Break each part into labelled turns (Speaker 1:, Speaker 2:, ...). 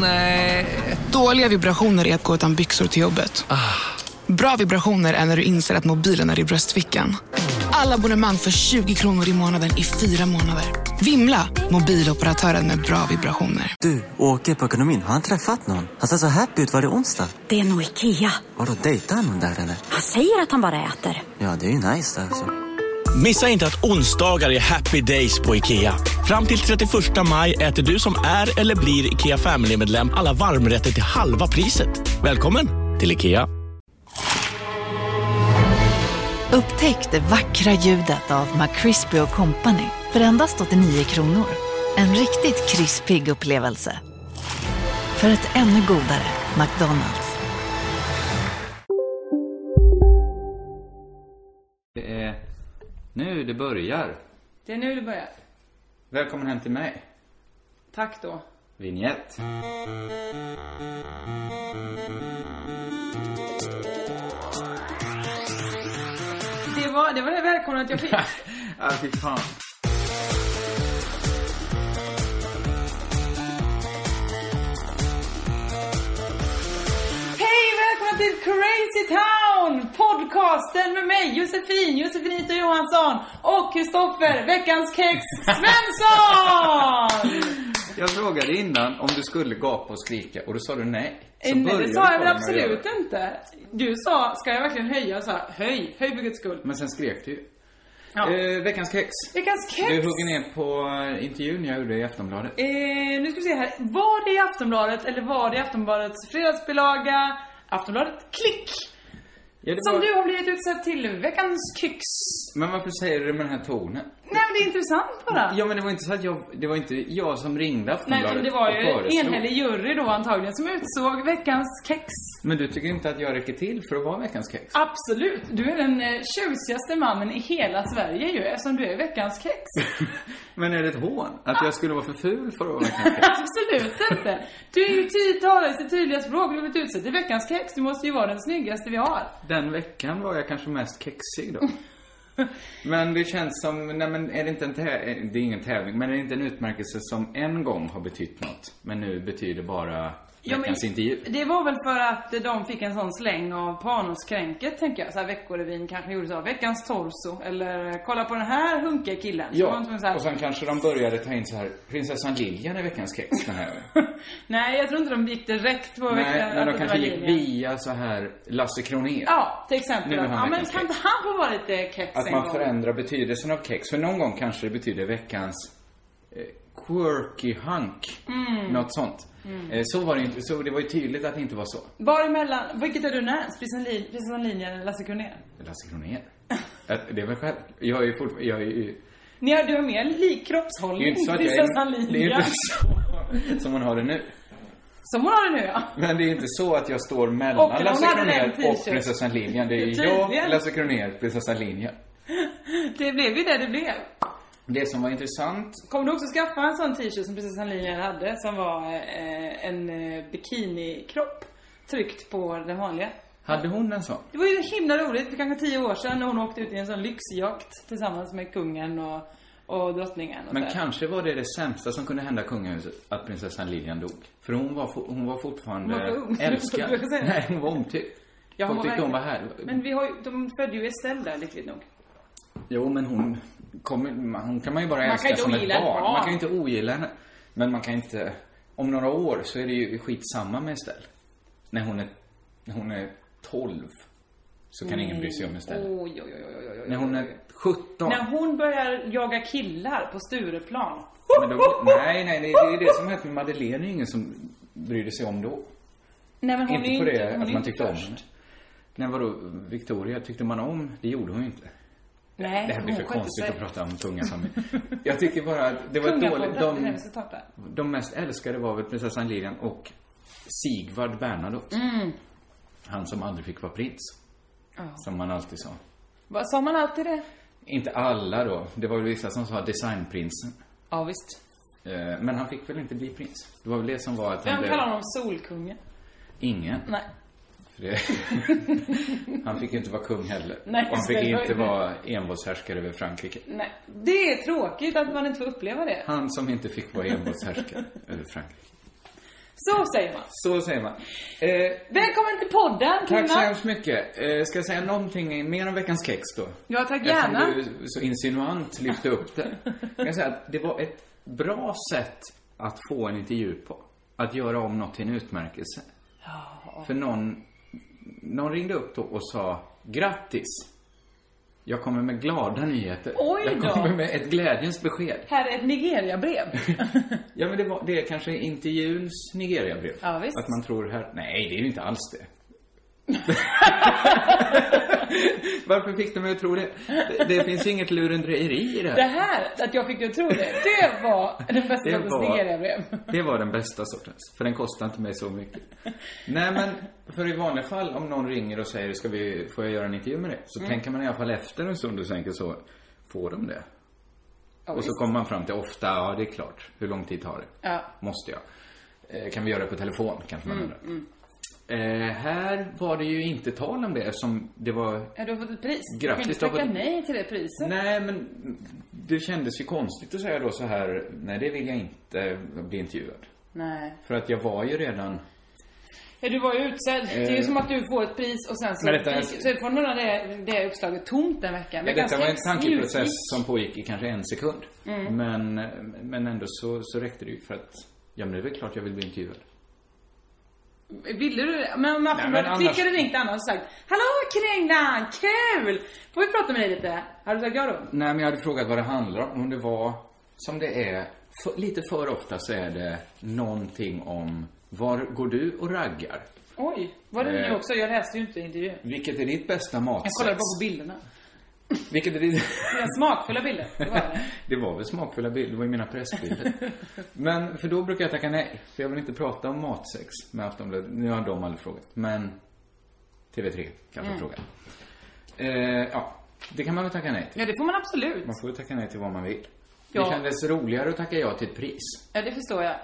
Speaker 1: Nej.
Speaker 2: Dåliga vibrationer är att gå utan byxor till jobbet. Bra vibrationer är när du inser att mobilen är i bröstfickan. Alla abonnemang för 20 kronor i månaden i fyra månader. Vimla! Mobiloperatören med bra vibrationer.
Speaker 3: Du, åker på ekonomin. Har han träffat någon? Han ser så happy ut. Var det onsdag?
Speaker 4: Det är nog Ikea.
Speaker 3: Har du dejtat någon där eller?
Speaker 4: Han säger att han bara äter.
Speaker 3: Ja, det är ju nice där alltså.
Speaker 5: Missa inte att onsdagar är happy days på IKEA. Fram till 31 maj äter du som är eller blir IKEA Family-medlem alla varmrätter till halva priset. Välkommen till IKEA.
Speaker 6: Upptäck det vackra ljudet av McCrispy Company för endast 89 kronor. En riktigt krispig upplevelse. För ett ännu godare McDonalds.
Speaker 7: Det är nu det börjar.
Speaker 8: Det är nu det börjar.
Speaker 7: Välkommen hem till mig.
Speaker 8: Tack då.
Speaker 7: Vignett.
Speaker 8: Mm. Det var det, var det välkomna jag fick.
Speaker 7: ah, fy fan.
Speaker 8: Hej, välkomna till Crazy Town! Podcasten med mig Josefin, Josefinito Johansson och Kristoffer, veckans kex, Svensson!
Speaker 7: Jag frågade innan om du skulle gapa och skrika och då sa du nej. Så
Speaker 8: Eh, Nej,
Speaker 7: började
Speaker 8: det
Speaker 7: du
Speaker 8: sa jag
Speaker 7: bara
Speaker 8: väl
Speaker 7: med att göra
Speaker 8: absolut
Speaker 7: det.
Speaker 8: inte. Du sa, ska jag verkligen höja? Jag sa, höj, höj för guds skull.
Speaker 7: Men sen skrek du ju.
Speaker 8: Ja.
Speaker 7: Eh, veckans kex.
Speaker 8: Veckans
Speaker 7: Du
Speaker 8: kex!
Speaker 7: hugger ner på eh, intervjun jag gjorde i Aftonbladet.
Speaker 8: Eh, nu ska vi se här. Var det i Aftonbladet eller var det i Aftonbladets fredagsbilaga? Aftonbladet Klick!
Speaker 7: Ja, det
Speaker 8: Som
Speaker 7: var-
Speaker 8: du har blivit utsedd till veckans kex.
Speaker 7: Men varför säger du det med den här tonen?
Speaker 8: Nej men det är intressant bara.
Speaker 7: Ja, men det var inte så att jag... Det var inte jag som ringde
Speaker 8: Nej
Speaker 7: Aftonbladet
Speaker 8: men det var
Speaker 7: och
Speaker 8: ju
Speaker 7: föreslog.
Speaker 8: enhällig jury då antagligen som utsåg veckans kex.
Speaker 7: Men du tycker inte att jag räcker till för att vara veckans kex?
Speaker 8: Absolut! Du är den eh, tjusigaste mannen i hela Sverige ju eftersom du är veckans kex.
Speaker 7: Men är det ett hån? Att jag skulle vara för ful för att vara veckans kex?
Speaker 8: Absolut inte! Du är ju ty- talar sitt tydliga språk, du har blivit utsedd till veckans kex. Du måste ju vara den snyggaste vi har.
Speaker 7: Den veckan var jag kanske mest kexig då. Men det känns som, nej men är det inte en tävling, det är ingen tävling, men är det inte en utmärkelse som en gång har betytt något, men nu betyder bara
Speaker 8: Ja, men
Speaker 7: veckans intervju?
Speaker 8: Det var väl för att de fick en sån släng av Panoskränket, tänker jag. Så här, Veckorevyn kanske gjorde så. här, Veckans torso. Eller eh, kolla på den här hunkiga killen. Så var
Speaker 7: Ja,
Speaker 8: de tvungna så här,
Speaker 7: och sen kanske de började ta in så här, prinsessan Lilian är veckans kex den här gången.
Speaker 8: Nej, jag tror inte de gick direkt på
Speaker 7: Nej, men
Speaker 8: att
Speaker 7: de
Speaker 8: det
Speaker 7: kanske
Speaker 8: var
Speaker 7: gick
Speaker 8: Lilian.
Speaker 7: via så här Lasse Kronér.
Speaker 8: Ja, till
Speaker 7: Nu
Speaker 8: exempel.
Speaker 7: är han
Speaker 8: Ja, men
Speaker 7: veckans
Speaker 8: kan inte
Speaker 7: kex.
Speaker 8: han få vara lite kex
Speaker 7: Att
Speaker 8: en
Speaker 7: man
Speaker 8: gång?
Speaker 7: förändrar betydelsen av kex. För någon gång kanske det betyder veckans eh, quirky hunk.
Speaker 8: Mm.
Speaker 7: Något sånt. Eh, så var det ju inte. Så det var ju tydligt att det inte var så.
Speaker 8: Var emellan, vilket är du närmst? Prinsessan Lil- Prinsessan Lilian eller Lasse Kronér?
Speaker 7: Lasse Kronér. Att Det är väl själv. Jag är ju fortfarande, jag är ju...
Speaker 8: Ni har, du har mer lik
Speaker 7: Det är ju
Speaker 8: kroppshållning,
Speaker 7: inte så att jag
Speaker 8: prinsessan
Speaker 7: är... Det är ju
Speaker 8: Lilian.
Speaker 7: inte så som hon har det nu.
Speaker 8: Som hon har det nu ja.
Speaker 7: Men det är ju inte så att jag står
Speaker 8: Och hon
Speaker 7: mellan Lasse
Speaker 8: hade den
Speaker 7: Kronér och
Speaker 8: t-shirt.
Speaker 7: prinsessan Lilian. Det är ju
Speaker 8: Tydligen.
Speaker 7: jag, Lasse Kronér, prinsessan Lilian.
Speaker 8: Det blev ju det det blev.
Speaker 7: Det som var intressant
Speaker 8: Kommer du också skaffa en sån t-shirt som prinsessan Lilian hade? Som var eh, en eh, bikinikropp tryckt på den vanliga.
Speaker 7: Hade hon en sån?
Speaker 8: Det var ju himla roligt för kanske tio år sedan när hon åkte ut i en sån lyxjakt tillsammans med kungen och, och drottningen. Och
Speaker 7: Men
Speaker 8: så.
Speaker 7: kanske var det det sämsta som kunde hända kungahuset, att prinsessan Lilian dog. För hon var, fo- hon var fortfarande
Speaker 8: Hon var ung.
Speaker 7: älskad.
Speaker 8: Jag säger det.
Speaker 7: Nej, hon var omtyckt.
Speaker 8: Ja,
Speaker 7: Folk
Speaker 8: hon
Speaker 7: tyckte hon var
Speaker 8: verkligen-
Speaker 7: här.
Speaker 8: Men vi har ju, de födde ju Estelle där lyckligt nog.
Speaker 7: Jo, men hon, kommer, man- hon kan man ju bara
Speaker 8: kan
Speaker 7: älska
Speaker 8: inte
Speaker 7: som ett
Speaker 8: ogilla ett
Speaker 7: barn.
Speaker 8: barn.
Speaker 7: Man kan ju inte ogilla henne. Men man kan inte... Om några år så är det ju skitsamma med Estelle. När hon är, när hon är 12 så kan ingen bry sig om Estelle.
Speaker 8: Oj, oj, oj, oj, oj, oj.
Speaker 7: När hon är 17.
Speaker 8: Mm. När hon börjar jaga killar på Stureplan.
Speaker 7: Men då, nej, nej, det är det är det som hänt med Madeleine. Det är ju ingen som brydde sig om då.
Speaker 8: Nej men hon
Speaker 7: inte
Speaker 8: är ju
Speaker 7: på det
Speaker 8: hon är
Speaker 7: att
Speaker 8: ju
Speaker 7: man
Speaker 8: inte
Speaker 7: tyckte om
Speaker 8: först.
Speaker 7: henne. Nej, vadå? Victoria, tyckte man om? Det gjorde hon ju inte.
Speaker 8: Nej,
Speaker 7: Det här blir
Speaker 8: hon
Speaker 7: för
Speaker 8: skötte
Speaker 7: konstigt
Speaker 8: sig.
Speaker 7: att prata om kungasamling. Jag tycker bara att det var ett
Speaker 8: Kungapodden,
Speaker 7: dåligt.
Speaker 8: det är
Speaker 7: De,
Speaker 8: det vi ska starta.
Speaker 7: de mest älskade var väl prinsessan Lilian och Sigvard Bernadotte. Han som aldrig fick vara prins.
Speaker 8: Mm. Ja.
Speaker 7: Som man alltid sa.
Speaker 8: Vad Sa man alltid det?
Speaker 7: Inte alla då. Det var väl vissa som sa designprinsen.
Speaker 8: Ja, visst.
Speaker 7: Eh, Men han fick väl inte bli prins? Det var väl det som var att han
Speaker 8: Vem
Speaker 7: blev...
Speaker 8: kallar honom Solkungen?
Speaker 7: Ingen.
Speaker 8: Nej.
Speaker 7: För det, han fick ju inte vara kung heller.
Speaker 8: Nej,
Speaker 7: och han fick
Speaker 8: det var-
Speaker 7: inte vara envåldshärskare över Frankrike.
Speaker 8: Nej. Det är tråkigt att man inte får uppleva det.
Speaker 7: Han som inte fick vara envåldshärskare över Frankrike.
Speaker 8: Så säger man.
Speaker 7: Så säger man. Eh,
Speaker 8: Välkommen till podden
Speaker 7: tack så
Speaker 8: kvinna.
Speaker 7: hemskt mycket. Eh, ska jag säga någonting mer om veckans kex då?
Speaker 8: Ja, tack
Speaker 7: Eftersom
Speaker 8: gärna.
Speaker 7: du så insinuant lyfte upp det. Jag kan säga att det var ett bra sätt att få en intervju på. Att göra om något till en utmärkelse. För någon, någon ringde upp då och sa grattis. Jag kommer med glada nyheter.
Speaker 8: Oj då.
Speaker 7: Jag kommer med ett glädjens besked.
Speaker 8: Här är ett Nigeria-brev.
Speaker 7: Ja, men det, var, det är kanske intervjuns Nigeria-brev.
Speaker 8: Ja, visst.
Speaker 7: Att man tror här, nej, det är ju inte alls det. Varför fick de mig att tro det? Det, det finns ju inget lurendrejeri i det
Speaker 8: Det
Speaker 7: här.
Speaker 8: här, att jag fick ju tro det, det var den bästa
Speaker 7: Det
Speaker 8: sortens
Speaker 7: var-
Speaker 8: Nigeria-brev.
Speaker 7: Det var den bästa sortens, för den kostade inte mig så mycket. Nej, men för i vanliga fall om någon ringer och säger, ska vi, får jag göra en intervju med dig?
Speaker 8: Mm.
Speaker 7: Så tänker man i alla fall efter en stund och tänker så, får de det?
Speaker 8: Ja,
Speaker 7: Och så
Speaker 8: visst.
Speaker 7: kommer man fram till ofta, ja det är klart. Hur lång tid tar det?
Speaker 8: Ja. Mm,
Speaker 7: Måste jag? Eh, kan vi göra det på telefon? Kanske man undrar. Eh, här var det ju inte tal om det eftersom det var...
Speaker 8: Ja, du har fått ett pris.
Speaker 7: Grattis,
Speaker 8: du kan
Speaker 7: du
Speaker 8: inte
Speaker 7: har
Speaker 8: tacka
Speaker 7: fått-
Speaker 8: nej till det priset.
Speaker 7: Nej, men det kändes ju konstigt att säga då så här, nej det vill jag inte eh, bli intervjuad.
Speaker 8: Nej.
Speaker 7: För att jag var ju redan...
Speaker 8: Ja, du var ju utsedd. Det är ju som att du får ett pris och sen så,
Speaker 7: Eh. Men detta är-
Speaker 8: så får några det, det uppslaget tomt en vecka.
Speaker 7: Ja,
Speaker 8: Men
Speaker 7: detta
Speaker 8: ganska Mm.
Speaker 7: var en tankeprocess
Speaker 8: mjukis.
Speaker 7: som pågick i kanske en sekund. Men, men ändå så, så räckte det ju för att, ja men det är väl klart jag vill bli intervjuad.
Speaker 8: Ville du Men om Aftonbladet
Speaker 7: annars-
Speaker 8: annars... hade ringt annars och sagt Hallå Kringlan, kul! Får vi prata med dig lite? Har du sagt ja då?
Speaker 7: Nej, men jag hade frågat vad det handlar om. Om det var, som det är, för, lite för ofta så är det någonting om var går du och raggar?
Speaker 8: Oj, var det
Speaker 7: Eh.
Speaker 8: nu också? Jag läste ju inte intervjun.
Speaker 7: Vilket är ditt bästa
Speaker 8: Jag
Speaker 7: matsex?
Speaker 8: kollade bara på bilderna.
Speaker 7: Vilket är ditt...
Speaker 8: Dina smakfulla bilder. Det var det.
Speaker 7: det var väl smakfulla bilder, det var ju mina pressbilder. men, för då brukar jag tacka nej. För jag vill inte prata om matsex med Aftonbladet. Nu har de aldrig frågat, men TV3 kanske
Speaker 8: Mm.
Speaker 7: frågar. Eh, ja, det kan man väl tacka nej till.
Speaker 8: Ja, det får man absolut.
Speaker 7: Man får ju tacka nej till vad man vill.
Speaker 8: Ja.
Speaker 7: Det kändes roligare att tacka ja till ett pris.
Speaker 8: Ja, det förstår jag.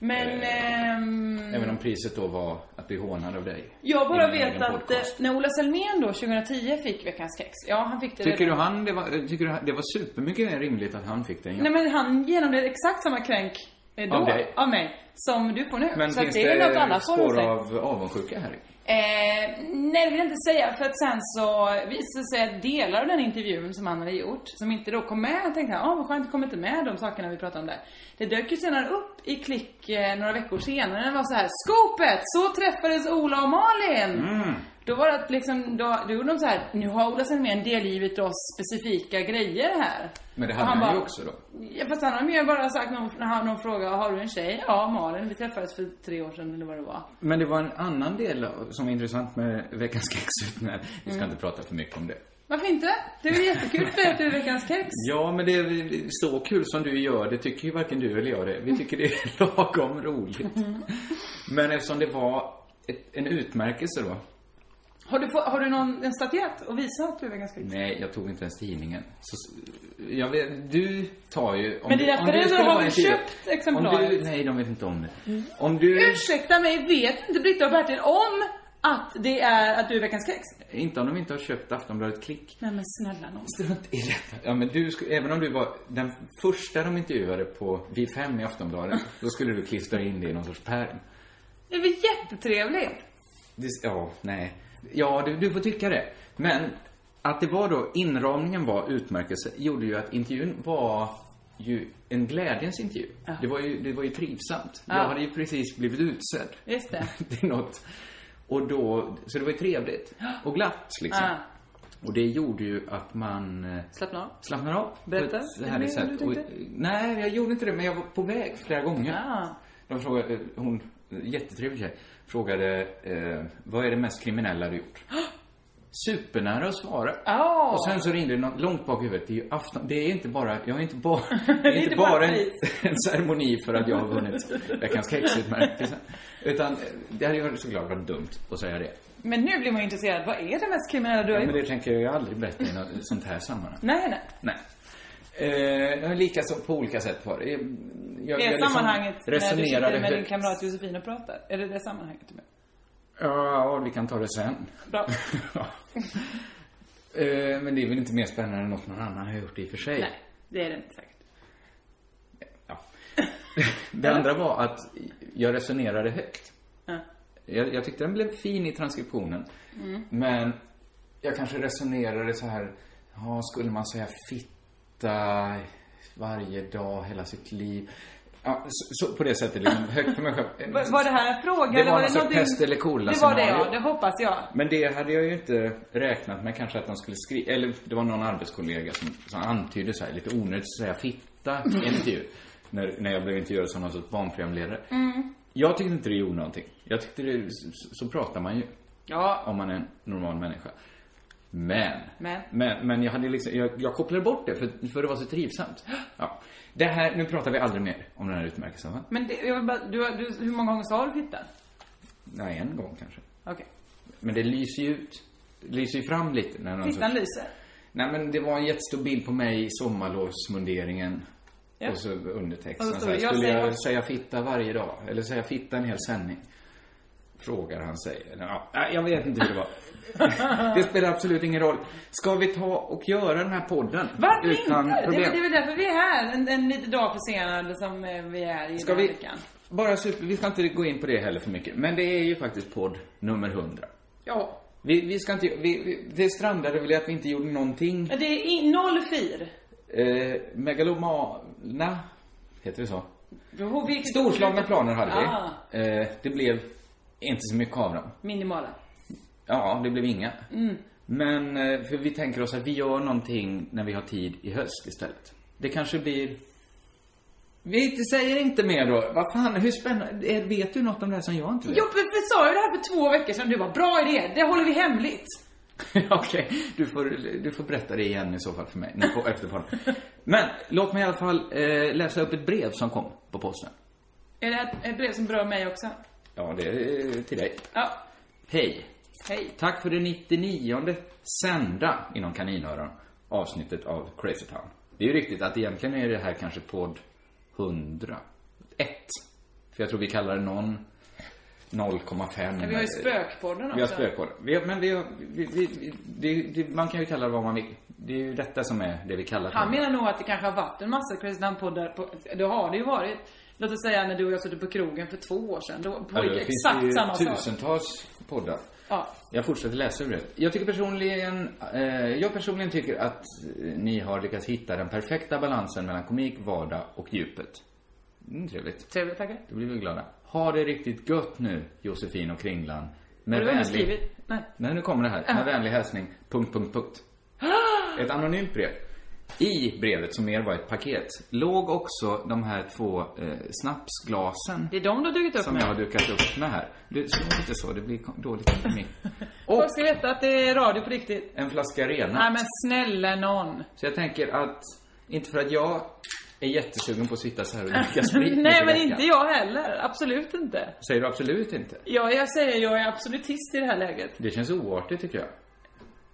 Speaker 8: Men...
Speaker 7: Eh,
Speaker 8: ehm,
Speaker 7: Även om priset då var att bli hånad av dig.
Speaker 8: jag bara
Speaker 7: I min
Speaker 8: vet
Speaker 7: egen
Speaker 8: att eh,
Speaker 7: podcast.
Speaker 8: när Ola Selmén då 2010 fick Veckans kex. Ja, han fick det
Speaker 7: Tycker du han, det var, eh, tycker du han- det var supermycket mer rimligt att han fick den? Ja.
Speaker 8: Nej men han genomled exakt samma kränk eh, då,
Speaker 7: Av
Speaker 8: av,
Speaker 7: dig?
Speaker 8: mig, som du får nu.
Speaker 7: men
Speaker 8: så att
Speaker 7: finns
Speaker 8: det är något
Speaker 7: det
Speaker 8: annat får
Speaker 7: spår
Speaker 8: hon sig.
Speaker 7: av avundsjuka här?
Speaker 8: Eh, nej, det vill jag inte säga. För att sen så visade det sig att delar av den intervjun som han hade gjort, som inte då kom med, jag tänkte jag, ah, vad skönt, det kom inte med de sakerna vi pratade om där. Det dök ju senare upp i klick eh, några veckor senare, det var så här, skopet! Så träffades Ola och Malin!
Speaker 7: Mm.
Speaker 8: Då var det att liksom, då, då gjorde de så här, nu har Ola Selmén delgivit oss specifika grejer här.
Speaker 7: Men det
Speaker 8: Och
Speaker 7: hade han, ju
Speaker 8: bara,
Speaker 7: också då.
Speaker 8: Ja, fast han har mer bara sagt någon, när han- någon fråga, har du en tjej? Ja, Malin. Vi träffades för tre år sedan eller vad det var.
Speaker 7: Men det var en annan del av- som är intressant med Veckans kex. Nej, vi
Speaker 8: Mm.
Speaker 7: ska inte prata för mycket om det.
Speaker 8: Varför inte? Det är väl jättekul för dig att du är veckans kex?
Speaker 7: Ja, men det är så kul som du gör. Det tycker ju varken du eller jag det. Vi tycker det är lagom roligt.
Speaker 8: Mm.
Speaker 7: Men eftersom det var ett, en utmärkelse då.
Speaker 8: Har du, få, har du någon, en statyett och visa att du är veckans kex?
Speaker 7: Nej, jag tog inte ens tidningen. Så, jag vet, du tar ju... Om
Speaker 8: Men
Speaker 7: du-
Speaker 8: dina
Speaker 7: om du
Speaker 8: föräldrar
Speaker 7: skulle
Speaker 8: har
Speaker 7: vara
Speaker 8: väl
Speaker 7: en tjej-
Speaker 8: köpt exemplaret? Mm.
Speaker 7: Om du, nej, de vet inte om det. Om du...
Speaker 8: Ursäkta mig, vet inte Britta och Bertil om att det är att du är veckans kex?
Speaker 7: Inte om de inte har köpt Aftonbladet Klick.
Speaker 8: Nej men snälla nån.
Speaker 7: Strunt i detta. Ja, men du, skulle- även om du var den första de intervjuade på Vi fem i Aftonbladet, då skulle du klistra in det i någon sorts pärm.
Speaker 8: Det är väl jättetrevligt?
Speaker 7: Det, ja, nej. Ja, du, du får tycka det. Men att det var då, inramningen var utmärkelse, gjorde ju att intervjun var ju en glädjens intervju. Det, var ju, det var ju trivsamt.
Speaker 8: Ja.
Speaker 7: Jag hade ju precis blivit utsedd.
Speaker 8: Just det.
Speaker 7: det är något. Och då, så det var ju trevligt. Och glatt, liksom.
Speaker 8: Ja.
Speaker 7: Och det gjorde ju att man... eh,
Speaker 8: Ah, Slappna av.
Speaker 7: slappnar av
Speaker 8: Berätta.
Speaker 7: på ett
Speaker 8: Är det
Speaker 7: härligt
Speaker 8: det
Speaker 7: sätt.
Speaker 8: du
Speaker 7: Och, eh,
Speaker 8: tänkte?
Speaker 7: nej, jag gjorde inte det, men jag var på väg flera gånger.
Speaker 8: Ah.
Speaker 7: De frågade, eh, hon, jättetrevlig tjej, frågade eh, vad är det mest kriminella du gjort? Supernära att svara.
Speaker 8: Ah.
Speaker 7: Och sen så ringde det någon långt bak i huvudet. Det är ju afton, det är inte bara, jag är inte bara, det
Speaker 8: är
Speaker 7: är inte
Speaker 8: inte bara
Speaker 7: bara en,
Speaker 8: pris.
Speaker 7: en ceremoni för att jag har vunnit Veckans kexutmärkelse. Utan eh, det hade ju varit såklart varit dumt att säga det.
Speaker 8: Men nu blir man intresserad. Vad är det mest kriminella du har
Speaker 7: Men
Speaker 8: gjort?
Speaker 7: det tänker jag ju aldrig berätta i något sånt här sammanhang.
Speaker 8: Nej, nej.
Speaker 7: Nej. Eh, likaså på olika sätt var det. Jag, jag
Speaker 8: Det är
Speaker 7: liksom
Speaker 8: sammanhanget när du
Speaker 7: resonerade
Speaker 8: sitter med din
Speaker 7: högt.
Speaker 8: kamrat Josefin och pratar. Är det det sammanhanget du menar?
Speaker 7: Ja, vi kan ta det sen.
Speaker 8: Bra.
Speaker 7: Ja. eh, men det är väl inte mer spännande än något någon annan har gjort i och för sig.
Speaker 8: Nej, det är det inte säkert.
Speaker 7: Ja. Det andra var att jag resonerade högt.
Speaker 8: Ja.
Speaker 7: Jag, jag tyckte den blev fin i transkriptionen.
Speaker 8: Mm.
Speaker 7: Men jag kanske resonerade så här, ja, skulle man säga fitta varje dag hela sitt liv? Ja, så, så, på det sättet, liksom, högt för mig själv.
Speaker 8: Var, var det här en fråga?
Speaker 7: Det
Speaker 8: eller
Speaker 7: var
Speaker 8: var
Speaker 7: någon sorts pest eller kola
Speaker 8: Det var det, ja.
Speaker 7: scenario.
Speaker 8: Det hoppas jag.
Speaker 7: Men det hade jag ju inte räknat med kanske att de skulle skriva, eller det var någon arbetskollega som, som antydde så här, lite onödigt att säga fitta i en intervju. När, när jag blev intervjuad som någon sorts barnprogramledare. Jag tyckte inte det gjorde någonting. Jag tyckte det, så, så pratar man ju.
Speaker 8: Ja.
Speaker 7: Om man är en normal människa. Men.
Speaker 8: Men.
Speaker 7: Men, men jag hade liksom, jag, jag kopplade bort det för, för det var så trivsamt. Ja. Det här, nu pratar vi aldrig mer om den här utmärkelsen va?
Speaker 8: Men det, jag vill bara, du, har- du, hur många gånger sa du fitta?
Speaker 7: Nej, en gång kanske.
Speaker 8: Okej.
Speaker 7: Men det lyser ju ut. Det lyser ju fram lite när någon
Speaker 8: Fittan
Speaker 7: sorts-
Speaker 8: lyser.
Speaker 7: Nej men det var en jättestor bild på mig i sommarlovsmunderingen.
Speaker 8: Ja.
Speaker 7: Och så undertexten.
Speaker 8: Och
Speaker 7: så
Speaker 8: då står det,
Speaker 7: här,
Speaker 8: "Jag
Speaker 7: skulle
Speaker 8: säger
Speaker 7: jag
Speaker 8: också-"
Speaker 7: säga fitta varje dag? Eller säga fitta en hel sändning? Frågar han sig. Eller, Ja, nej, jag vet inte hur det var. det spelar absolut ingen roll. Ska vi ta och göra den här podden?
Speaker 8: Varför
Speaker 7: utan
Speaker 8: inte? Det,
Speaker 7: Problem?
Speaker 8: är- det är väl därför vi är här. En, en liten dag försenad som eh, vi är i
Speaker 7: Ska
Speaker 8: den här
Speaker 7: vi...
Speaker 8: veckan.
Speaker 7: Bara super, vi ska inte gå in på det heller för mycket. Men det är ju faktiskt podd nummer 100.
Speaker 8: Ja.
Speaker 7: Vi, vi ska inte... Vi, vi, det strandade väl i att vi inte gjorde någonting.
Speaker 8: Det är i, noll fir.
Speaker 7: Eh, megalomana, heter det så?
Speaker 8: Jo, vilket-
Speaker 7: Storslagna planer hade vi.
Speaker 8: Ah,
Speaker 7: Eh, det blev inte så mycket av dem.
Speaker 8: minimala.
Speaker 7: Ja, det blev inga. Men, eh, för vi tänker oss att vi gör någonting när vi har tid i höst istället. Det kanske blir... Vi inte- säger inte mer då. Vad fan, hur spännande... eh, Vet du något om det här som jag inte vet?
Speaker 8: Jo, för vi sa ju det här för två veckor sedan. Du var bra idé. Det håller vi hemligt.
Speaker 7: Okej, du, får, du får berätta det igen i så fall för mig när- på efterpodden. Men, låt mig i alla fall eh, läsa upp ett brev som kom på posten.
Speaker 8: Är det här ett brev som berör mig också?
Speaker 7: Ja, det är eh, till dig.
Speaker 8: Ja.
Speaker 7: Hej.
Speaker 8: Hej.
Speaker 7: Tack för det 99 sända, inom kaninöron, avsnittet av Crazy Town. Det är ju riktigt att egentligen är det här kanske podd 100. 1. För jag tror vi kallar det någon 0,5.
Speaker 8: Vi har ju spökpodden också.
Speaker 7: Vi har spökpodden. Vi har, men vi har, vi, vi, vi, det, det, man kan ju kalla det vad man vill. Det är ju detta som är det vi kallar
Speaker 8: Han
Speaker 7: det.
Speaker 8: menar nog att det kanske har varit en massa Crazy Town-poddar. på- Det har det ju varit. Låt oss säga när du och jag suttit på krogen för två år sedan. Då
Speaker 7: Ja,
Speaker 8: pågick
Speaker 7: det finns
Speaker 8: exakt
Speaker 7: ju
Speaker 8: samma sak.
Speaker 7: tusentals poddar.
Speaker 8: Ja.
Speaker 7: Jag fortsätter läsa ur det. Jag tycker personligen, eh, jag personligen tycker att eh, ni har lyckats hitta den perfekta balansen mellan komik, vardag och djupet. Mm, trevligt.
Speaker 8: Trevligt, tackar.
Speaker 7: Då blir vi glada. Ha det riktigt gött nu, Josefin och Kringlan. Med
Speaker 8: Har du underskrivit? Nej.
Speaker 7: Nej, nu kommer det här. Med vänlig hälsning. Punkt, punkt, punkt. Ett anonymt brev. I brevet, som mer var ett paket, låg också de här två eh, snapsglasen
Speaker 8: Det är de du har dugit upp
Speaker 7: som
Speaker 8: med.
Speaker 7: jag har dukat upp med här. Du, slå inte så, det blir dåligt för mig. Och
Speaker 8: Folk ska veta att det är radio på riktigt.
Speaker 7: en flaska
Speaker 8: Nej
Speaker 7: Rena.
Speaker 8: men snälla någon.
Speaker 7: Så jag tänker att, inte för att jag är jättesugen på att sitta så här och dricka sprit mitt i
Speaker 8: Nej men
Speaker 7: veckan.
Speaker 8: inte jag heller. Absolut inte.
Speaker 7: Säger du absolut inte?
Speaker 8: Ja, jag säger jag är absolutist i det här läget.
Speaker 7: Det känns oartigt tycker jag.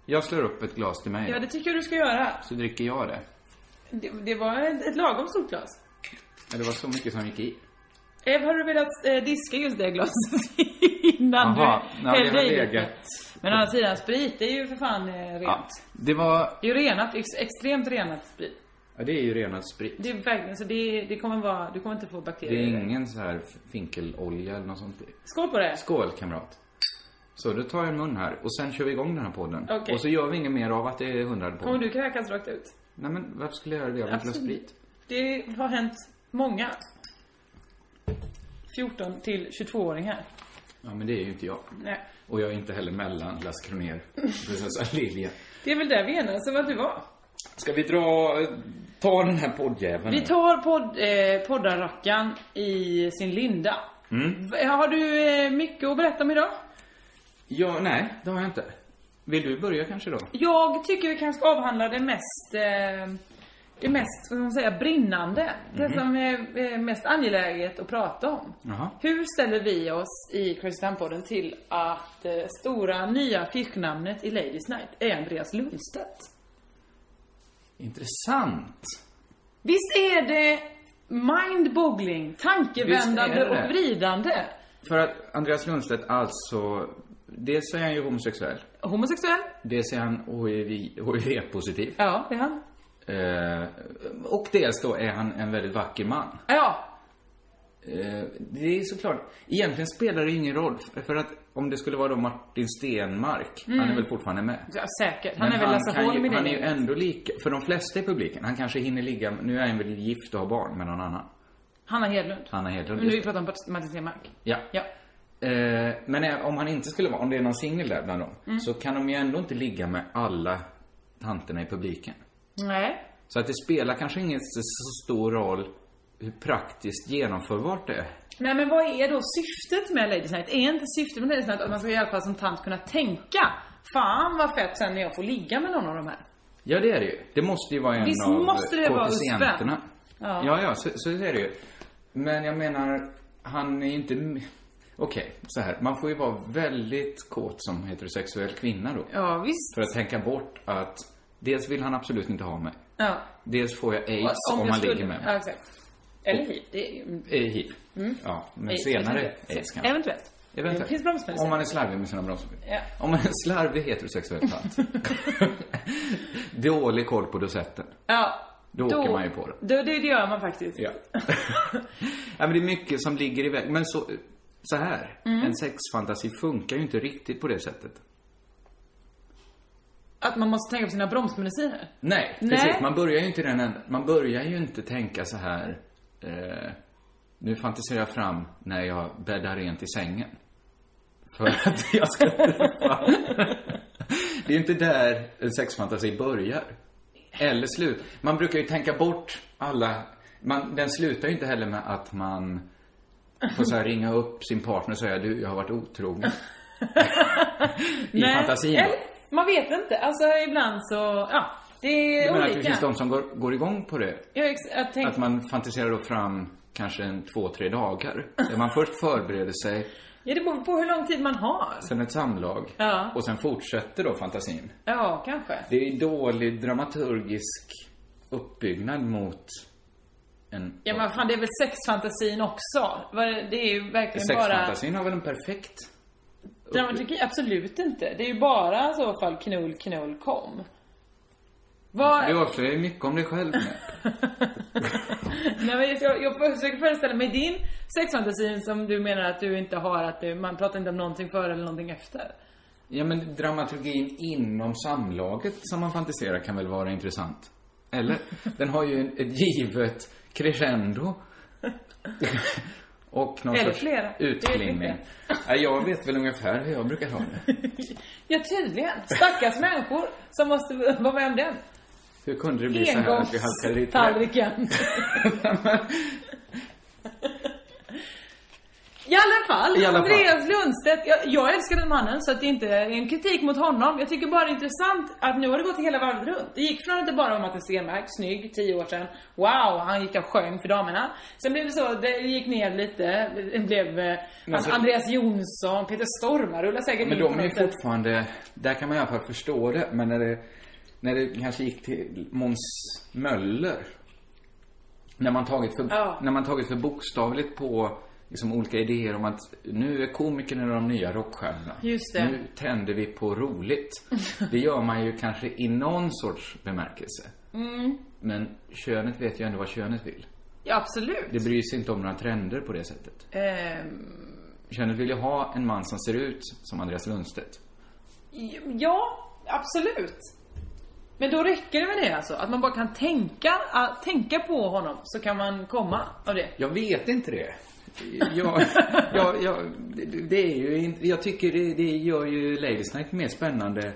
Speaker 7: Jag slår upp ett glas till mig,
Speaker 8: Ja, det tycker jag du ska göra.
Speaker 7: så dricker jag det.
Speaker 8: Det, det var ett, ett lagom stort glas.
Speaker 7: Ja, Det var så mycket som gick i.
Speaker 8: Ev, har du velat eh, diska just det glaset innan
Speaker 7: Jaha,
Speaker 8: du
Speaker 7: ja, det har
Speaker 8: i det?
Speaker 7: legat.
Speaker 8: Men å andra sidan, sprit det är ju för fan eh, rent.
Speaker 7: Ja, det var...
Speaker 8: Det är ju renat, ex, extremt renat sprit.
Speaker 7: Ja, det är ju renad sprit.
Speaker 8: Det är verkligen, så det, det kommer vara, du kommer inte få
Speaker 7: Det
Speaker 8: bakterier.
Speaker 7: är ingen så här finkelolja eller något sånt.
Speaker 8: Skål på det.
Speaker 7: Skål, kamrat. Så, då tar jag en mun här och sen kör vi igång den här podden.
Speaker 8: Okej.
Speaker 7: Och så gör vi inget mer av att det är hundrade
Speaker 8: Kommer
Speaker 7: podden.
Speaker 8: du kräkas rakt ut?
Speaker 7: Nej, men varför skulle jag göra det? Jag vill inte ha
Speaker 8: Absolut.
Speaker 7: sprit.
Speaker 8: Det har hänt många 14 till 22-åringar.
Speaker 7: Ja, men det är ju inte jag.
Speaker 8: Nej.
Speaker 7: Och jag är inte heller mellan Las Kronér och prinsessa Lilja.
Speaker 8: Det är väl där vi enades om att du var.
Speaker 7: Ska vi dra... Ta den här poddjäveln
Speaker 8: Vi
Speaker 7: nu?
Speaker 8: tar podd, eh, poddarrackan i sin linda.
Speaker 7: Mm.
Speaker 8: V- Har du eh, mycket att berätta om idag?
Speaker 7: Ja, nej, det har jag inte. Vill du börja kanske då?
Speaker 8: Jag tycker vi kanske ska avhandla det mest, eh, det mest, vad ska man säga, brinnande. Det som är eh, mest angeläget att prata om.
Speaker 7: Mhm. Jaha.
Speaker 8: Hur ställer vi oss i Crazy Town-podden till att eh, stora nya affischnamnet i Ladies Night är Andreas Lundstedt?
Speaker 7: Intressant.
Speaker 8: Visst är det mindboggling,
Speaker 7: Visst
Speaker 8: tankevändande
Speaker 7: är det
Speaker 8: och
Speaker 7: det.
Speaker 8: vridande?
Speaker 7: För att Andreas Lundstedt alltså... Dels är han ju homosexuell.
Speaker 8: Homosexuell?
Speaker 7: Dels är han HIV HIV-positiv.
Speaker 8: Ja, det är han.
Speaker 7: Eh, och dels då är han en väldigt vacker man.
Speaker 8: Ja.
Speaker 7: Eh, det är såklart, egentligen spelar det ju ingen roll. För för att om det skulle vara då Martin Stenmark, han är väl fortfarande med?
Speaker 8: Ja, säkert. Mm. Han
Speaker 7: Men
Speaker 8: är väl Lasse
Speaker 7: kan
Speaker 8: Holm i
Speaker 7: ju,
Speaker 8: det
Speaker 7: Han är ju
Speaker 8: läget.
Speaker 7: ändå lika, för de flesta i publiken, han kanske hinner ligga, nu är han väl gift och har barn med någon annan.
Speaker 8: Hanna Hedlund.
Speaker 7: Hanna Hedlund,
Speaker 8: Men nu
Speaker 7: just
Speaker 8: vi pratar om Martin Stenmark.
Speaker 7: Ja.
Speaker 8: Ja.
Speaker 7: Eh, men eh, om han inte skulle vara, om det är någon singel där bland dem,
Speaker 8: Mm.
Speaker 7: så kan de ju ändå inte ligga med alla tanterna i publiken.
Speaker 8: Nej.
Speaker 7: Så att det spelar kanske ingen så- så stor roll hur praktiskt genomförbart det är.
Speaker 8: Nej men vad är då syftet med Ladies Night? Är inte syftet med Ladies Night att man ska i alla fall som tant kunna tänka Fan vad fett sen när jag får ligga med någon av de här.
Speaker 7: Ja, det är det ju. Det måste ju vara en
Speaker 8: Visst
Speaker 7: av
Speaker 8: måste det vara
Speaker 7: koefficienterna.
Speaker 8: USP?
Speaker 7: Ja,
Speaker 8: Ja.
Speaker 7: ja, så, så är det ju. Men jag menar, han är ju inte... m- Okej, så här. Man får ju vara väldigt kåt som heterosexuell kvinna då.
Speaker 8: Ja visst.
Speaker 7: För att tänka bort att dels vill han absolut inte ha mig.
Speaker 8: Ja.
Speaker 7: Dels får jag aids om,
Speaker 8: jag
Speaker 7: man
Speaker 8: skulle-
Speaker 7: ligger med mig.
Speaker 8: Ja, exakt. Eller hiv. Det är ju...
Speaker 7: Eh, hiv. Ja, men
Speaker 8: Aids,
Speaker 7: senare
Speaker 8: eventuellt.
Speaker 7: aids kanske.
Speaker 8: Eventuellt. Det finns bromsmedicin.
Speaker 7: Om man är slarvig med sina bromsmedicin.
Speaker 8: Ja.
Speaker 7: Om man är en slarvig heterosexuell tant. Dålig koll på dosetten.
Speaker 8: Ja.
Speaker 7: Då åker man ju på det.
Speaker 8: Då, det, det gör man faktiskt.
Speaker 7: Ja. ja, men det är mycket som ligger i vägen. Men så, så här.
Speaker 8: Mm.
Speaker 7: En sexfantasi funkar ju inte riktigt på det sättet.
Speaker 8: Att man måste tänka på sina bromsmediciner.
Speaker 7: Nej,
Speaker 8: Nej.
Speaker 7: precis. Man börjar ju inte i den änden. Man börjar ju inte tänka så här. Eh, nu fantiserar jag fram när jag bäddar rent i sängen. För att jag ska träffa. Det är inte där en sexfantasi börjar. Eller slut. Man brukar ju tänka bort alla... Man, den slutar ju inte heller med att man får så här ringa upp sin partner och säga du, jag har varit otrogen. I fantasin. då.
Speaker 8: Eller, man vet inte. Alltså ibland så, ja. Det är
Speaker 7: Jag menar att det
Speaker 8: olika.
Speaker 7: finns de som går, går igång på det.
Speaker 8: Ja, ex- jag tänk,
Speaker 7: Att man fantiserar då fram kanske en två, tre dagar. Där man först förbereder sig,
Speaker 8: ja, det beror på hur lång tid man har.
Speaker 7: sen ett samlag
Speaker 8: Ja.
Speaker 7: och sen fortsätter då fantasin.
Speaker 8: Ja, kanske.
Speaker 7: Det är dålig dramaturgisk uppbyggnad mot en...
Speaker 8: Ja, men fan, det är väl sexfantasin också? Vad- Det är ju verkligen bara...
Speaker 7: Sexfantasin har väl en perfekt...
Speaker 8: Dramaturgi? Absolut inte. Det är ju bara i så fall knull, knull, kom. Vad...
Speaker 7: Du avslöjar ju mycket om dig själv nu.
Speaker 8: Nej, men jag, jag försöker föreställa mig din sexfantasin som du menar att du inte har, att du, man pratar inte om någonting före eller någonting efter.
Speaker 7: Ja, men dramaturgin inom samlaget som man fantiserar kan väl vara intressant? Eller? Den har ju en, ett givet crescendo. Och någon
Speaker 8: Eller
Speaker 7: sorts
Speaker 8: flera. Det är
Speaker 7: utflimning. Ja, jag vet väl ungefär hur jag brukar ha det.
Speaker 8: Ja, tydligen. Stackars människor som måste vara med om den.
Speaker 7: Hur kunde det bli så här att vi halkade dit?
Speaker 8: Engångstallriken. I alla fall,
Speaker 7: I alla fall.
Speaker 8: Andreas Lundstedt. Jag, jag älskar den mannen så att det inte är en kritik mot honom. Jag tycker bara det är intressant att nu har det gått hela varvet runt. Det gick från att det bara var Martin Stenmarck, snygg, 10 år sedan. Wow, han gick och sjöng för damerna. Sen blev det så, det gick ner lite. Det blev eh,
Speaker 7: Men alltså-
Speaker 8: Andreas Jonsson, Peter Stormare rullar säkert
Speaker 7: Men
Speaker 8: in
Speaker 7: de
Speaker 8: på
Speaker 7: är ju
Speaker 8: något sätt.
Speaker 7: fortfarande... Där kan man i alla fall förstå det. Men när det, när det kanske gick till Måns Möller. När man tagit för,
Speaker 8: Ja.
Speaker 7: när man tagit för bokstavligt på liksom, olika idéer om att nu är komikerna de nya rockstjärnorna.
Speaker 8: Just det.
Speaker 7: Nu tänder vi på roligt. Det gör man ju kanske i någon sorts bemärkelse.
Speaker 8: Mm.
Speaker 7: Men könet vet ju ändå vad könet vill.
Speaker 8: Ja, absolut.
Speaker 7: Det bryr sig inte om några trender på det sättet.
Speaker 8: Ehm,
Speaker 7: Könet vill ju ha en man som ser ut som Andreas Lundstedt.
Speaker 8: Ja, absolut. Men då räcker det med det alltså? Att man bara kan tänka, att tänka på honom så kan man komma av det.
Speaker 7: Jag vet inte det. Jag, jag, jag, det- det är ju, in- jag tycker det, det gör ju Ladies Night mer spännande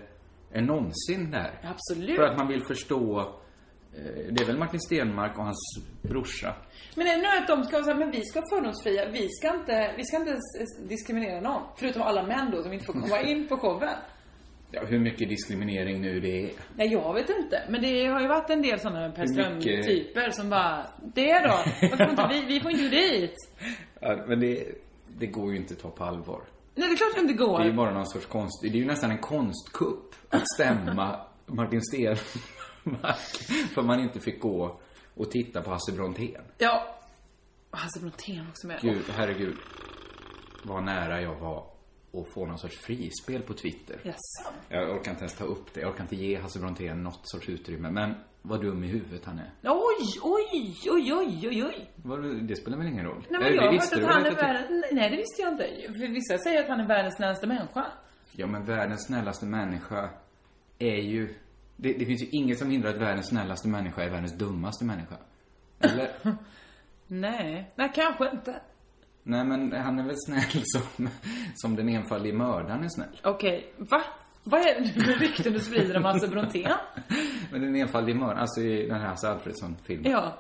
Speaker 7: än någonsin där.
Speaker 8: Absolut.
Speaker 7: För att man vill förstå, eh, det är väl Martin Stenmark och hans brorsa.
Speaker 8: Men är det nu att de ska vara så här, men vi ska vara fördomsfria, vi ska inte, vi ska inte s- diskriminera någon. Förutom alla män då som inte får komma in på showen.
Speaker 7: Ja, hur mycket diskriminering nu det är.
Speaker 8: Nej, jag vet inte. Men det har ju varit en del sådana Per
Speaker 7: mycket-
Speaker 8: Ström-typer som bara, det då? Varför får inte vi, vi får inte dit?
Speaker 7: Ja, men det, det går ju inte att ta på allvar.
Speaker 8: Nej, det är klart det inte
Speaker 7: Det är ju
Speaker 8: går.
Speaker 7: bara någon sorts konst, det är ju nästan en konstkupp att stämma Martin Stenmark för man inte fick gå och titta på Hasse Brontén.
Speaker 8: Ja. Alltså, Och Hasse Brontén också med.
Speaker 7: Gud, herregud. Vad nära jag var och får någon sorts frispel på Twitter.
Speaker 8: Jaså?
Speaker 7: Jag orkar inte ens ta upp det. Jag orkar inte ge Hasse Brontén något sorts utrymme. Men vad dum i huvudet han är.
Speaker 8: Oj, oj, oj, oj, oj, oj.
Speaker 7: Vad- Det spelar väl ingen roll? Eller,
Speaker 8: Nej, men
Speaker 7: det
Speaker 8: jag har hört
Speaker 7: visste
Speaker 8: att
Speaker 7: du
Speaker 8: han
Speaker 7: väl
Speaker 8: är
Speaker 7: att jag
Speaker 8: världens... Nej, det visste jag inte. För vissa säger att han är världens snällaste människa.
Speaker 7: tyck- Ja, men världens snällaste människa är ju... Det, det finns ju inget som hindrar att världens snällaste människa är världens dummaste människa. Eller?
Speaker 8: Nej, nej kanske inte.
Speaker 7: Nej, men han är väl snäll som, som den enfaldige mördaren är snäll.
Speaker 8: Okej, va? Vad är det nu för rykten du sprider om Hasse Brontén?
Speaker 7: Men den enfaldige mördaren, alltså i den här Hasse Alfredson-filmen.
Speaker 8: Ja.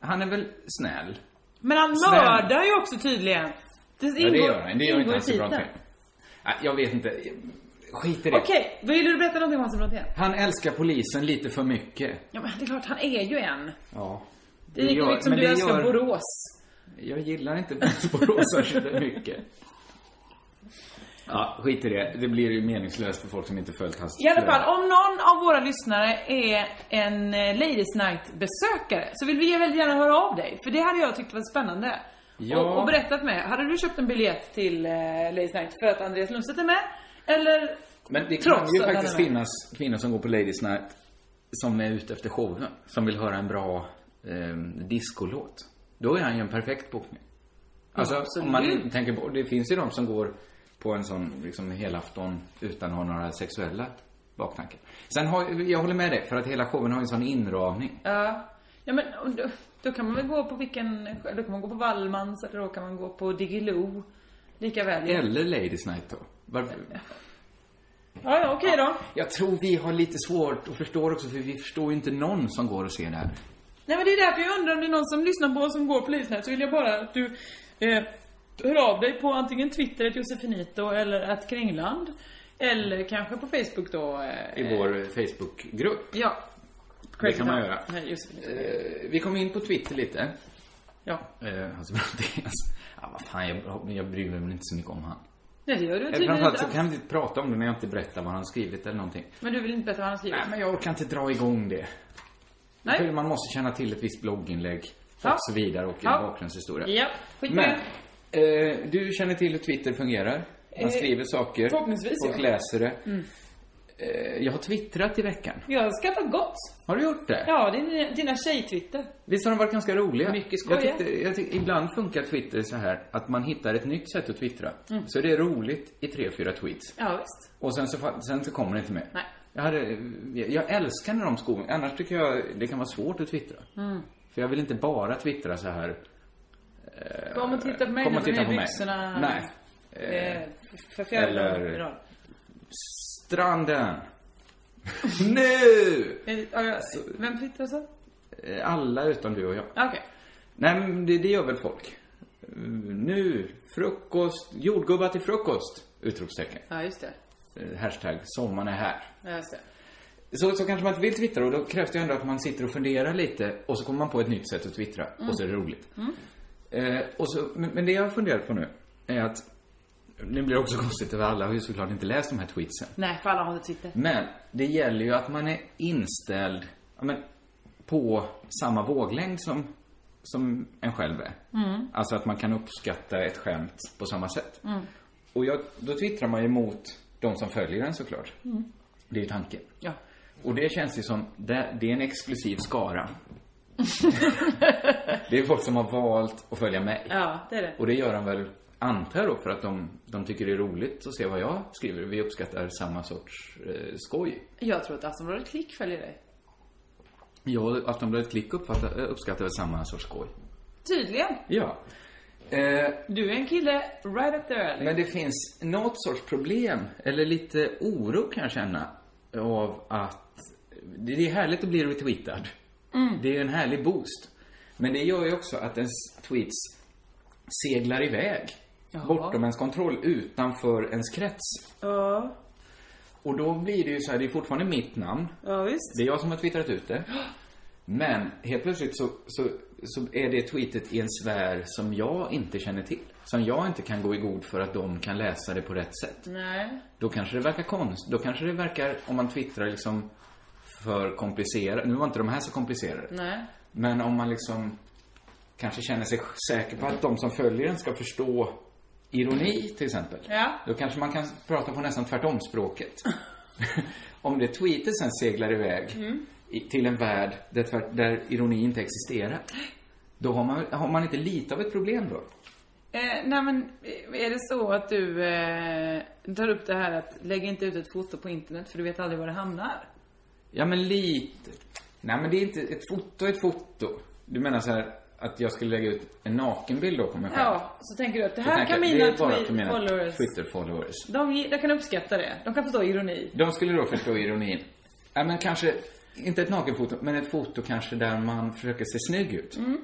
Speaker 7: Han är väl snäll?
Speaker 8: Men han
Speaker 7: Snäll.
Speaker 8: mördar ju också tydligen. Det ingår,
Speaker 7: Ja, det gör han. Det gör inte
Speaker 8: ingår i
Speaker 7: Hasse
Speaker 8: titeln.
Speaker 7: Brontén. Nej, Jag vet inte. Skit i det.
Speaker 8: Okej, vill du berätta någonting om Hasse Brontén?
Speaker 7: Han älskar polisen lite för mycket.
Speaker 8: Ja, men det är klart, han är ju en.
Speaker 7: Ja.
Speaker 8: Det är lika mycket som du älskar Borås.
Speaker 7: Jag gillar inte Borås särskilt mycket. Ja, skit i det. Det blir ju meningslöst för folk som inte följt hans
Speaker 8: I alla fall, om någon av våra lyssnare är en eh, Ladies Night-besökare så vill vi väldigt gärna höra av dig. För det hade jag tyckt var spännande.
Speaker 7: Ja.
Speaker 8: Och, och berättat med. Hade du köpt en biljett till eh, Ladies Night för att Andreas Lundstedt är med? Eller?
Speaker 7: Men det
Speaker 8: Trots
Speaker 7: kan ju
Speaker 8: att han
Speaker 7: faktiskt
Speaker 8: är med.
Speaker 7: finnas kvinnor som går på Ladies Night som är ute efter showen. Som vill höra en bra eh, discolåt. Då är han ju en perfekt bokning. Alltså,
Speaker 8: absolut.
Speaker 7: om man tänker på, det finns ju de som går på en sån liksom helafton utan att ha några sexuella baktankar. Sen har, jag håller med dig, för att hela showen har en sån inramning.
Speaker 8: Ja. Ja men och då, då kan man väl gå på vilken, då kan man gå på Wallmans eller då kan man gå på Diggiloo. Lika väl. Ja,
Speaker 7: Eller Ladies Night då. Varför?
Speaker 8: ja okej då.
Speaker 7: Jag tror vi har lite svårt att förstå det också, för vi förstår ju inte någon som går och ser det här.
Speaker 8: Nej men det är därför jag undrar om det är någon som lyssnar på oss som går på Lysnät så vill jag bara att du eh, hör av dig på antingen Twitter, att Josefinito eller att Kringland. Eller kanske på Facebook då. Eh,
Speaker 7: I vår Facebookgrupp.
Speaker 8: ja.
Speaker 7: Det kan man göra.
Speaker 8: Nej, Josefinito.
Speaker 7: Eh, vi kom in på Twitter lite.
Speaker 8: Ja.
Speaker 7: Eh, Hasse Brontens. alltså, Ja, vad fan, jag, jag bryr mig väl inte så mycket om han.
Speaker 8: Nej det gör du
Speaker 7: Eh,
Speaker 8: tydligen
Speaker 7: Framförallt
Speaker 8: inte.
Speaker 7: så kan vi inte prata om det när jag inte berättar vad han skrivit eller någonting.
Speaker 8: Men du vill inte berätta vad han skriver?
Speaker 7: Nej, men jag orkar inte dra igång det.
Speaker 8: Nej.
Speaker 7: För Man måste känna till ett visst blogginlägg
Speaker 8: Ja.
Speaker 7: och så vidare och en
Speaker 8: Ja.
Speaker 7: bakgrundshistoria.
Speaker 8: Ja, skit i
Speaker 7: Men, eh, du känner till hur Twitter fungerar. Man skriver saker.
Speaker 8: Eh, förhoppningsvis,
Speaker 7: Folk
Speaker 8: ja. Mm.
Speaker 7: läser det. Eh, jag har twittrat i veckan.
Speaker 8: Jag har skaffat gott.
Speaker 7: Har du gjort det?
Speaker 8: Ja, det är dina- dina tjej-twitter.
Speaker 7: Visst har de varit ganska roliga? Mycket
Speaker 8: skojiga.
Speaker 7: Jag tyckte, jag tyckte, ibland funkar Twitter så här att man hittar ett nytt sätt att twittra.
Speaker 8: Mm.
Speaker 7: Så det är roligt i tre, fyra tweets.
Speaker 8: Ja, visst.
Speaker 7: Och sen så, fa- sen så kommer det inte mer.
Speaker 8: Nej.
Speaker 7: Jag, hade, jag, jag älskar när de skor, annars tycker jag det kan vara svårt att twittra.
Speaker 8: Mm.
Speaker 7: För jag vill inte bara twittra så här.
Speaker 8: Kom och titta på mig
Speaker 7: Kom
Speaker 8: nu
Speaker 7: och titta
Speaker 8: med
Speaker 7: på mig.
Speaker 8: byxorna.
Speaker 7: Nej.
Speaker 8: Eh, för fjärde
Speaker 7: eller-
Speaker 8: gången i rad.
Speaker 7: Stranden. nu!
Speaker 8: Eh, ja, ja, Vem twittrar så?
Speaker 7: Eh, Alla utom du och jag.
Speaker 8: Ja, Okej.
Speaker 7: Nej, men det, det gör väl folk. Mm, Nu, frukost, jordgubbar till frukost! Utropstecken.
Speaker 8: Ja, just det.
Speaker 7: Eh, Hashtag sommaren är här.
Speaker 8: Ja, just det.
Speaker 7: Så, så kanske man inte vill twittra och då krävs det ju ändå att man sitter och funderar lite och så kommer man på ett nytt sätt att twittra och så är det roligt. Eh, och så, men, men det jag har funderat på nu är att, nu blir det också konstigt över alla har ju såklart inte läst de här tweetsen.
Speaker 8: Nej, för alla har inte Twitter.
Speaker 7: Men det gäller ju att man är inställd ja, men, på samma våglängd som, som en själv är. Alltså att man kan uppskatta ett skämt på samma sätt. Och jag, då twittrar man ju mot de som följer den såklart. Det är ju tanken.
Speaker 8: Ja.
Speaker 7: Och det känns ju som, det, det är en exklusiv skara. det är folk som har valt att följa mig.
Speaker 8: Ja, det är det.
Speaker 7: Och det gör de väl, antar jag då, för att de, de tycker det är roligt att se vad jag skriver. Vi uppskattar samma sorts eh, skoj.
Speaker 8: Jag tror att Aftonbladet Klick följer dig.
Speaker 7: Jag och Aftonbladet Klick uppfattar, eh, uppskattar väl samma sorts skoj.
Speaker 8: Tydligen.
Speaker 7: Ja. Eh,
Speaker 8: Du är en kille right up there alley.
Speaker 7: men det finns något sorts problem, eller lite oro kan jag känna, av att det det är härligt att bli retweetad. Det är ju en härlig boost. Men det gör ju också att ens tweets seglar iväg. Bortom ens kontroll, utanför ens krets.
Speaker 8: Ja,
Speaker 7: Och då blir det ju så här, det är fortfarande mitt namn.
Speaker 8: ja visst.
Speaker 7: Det är jag som har twittrat ut det. Men helt plötsligt så, så, så är det tweetet i en sfär som jag inte känner till. Som jag inte kan gå i god för att de kan läsa det på rätt sätt.
Speaker 8: Nej.
Speaker 7: Då kanske det verkar konst. Då kanske det verkar, om man twittrar liksom för komplicerat. Nu var inte de här så komplicerade.
Speaker 8: Nej.
Speaker 7: Men om man liksom kanske känner sig säker på att de som följer en ska förstå ironi till exempel.
Speaker 8: Ja.
Speaker 7: Då kanske man kan prata på nästan tvärtom språket. Om det tweetet sen seglar iväg
Speaker 8: Mm.
Speaker 7: i, till en värld där, tvärt, där ironi inte existerar. Då har man, har man inte lite av ett problem då.
Speaker 8: Eh, nej men, eh, är det så att du eh, tar upp det här att lägg inte ut ett foto på internet för du vet aldrig var det hamnar?
Speaker 7: Ja, men lite. Nej, men det är inte... Ett foto är ett foto. Du menar så här att jag skulle lägga ut en nakenbild då på mig själv?
Speaker 8: Ja, så tänker du att det
Speaker 7: Då
Speaker 8: här
Speaker 7: tänker
Speaker 8: kan
Speaker 7: jag,
Speaker 8: mina
Speaker 7: Det är bara för
Speaker 8: tweet-
Speaker 7: mina
Speaker 8: followers...
Speaker 7: Twitter-followers.
Speaker 8: De, ge- de kan uppskatta det. De kan förstå ironi.
Speaker 7: De skulle då förstå ironin. Ja, men kanske... Inte ett nakenfoto, men ett foto kanske där man försöker se snygg ut.
Speaker 8: Mm.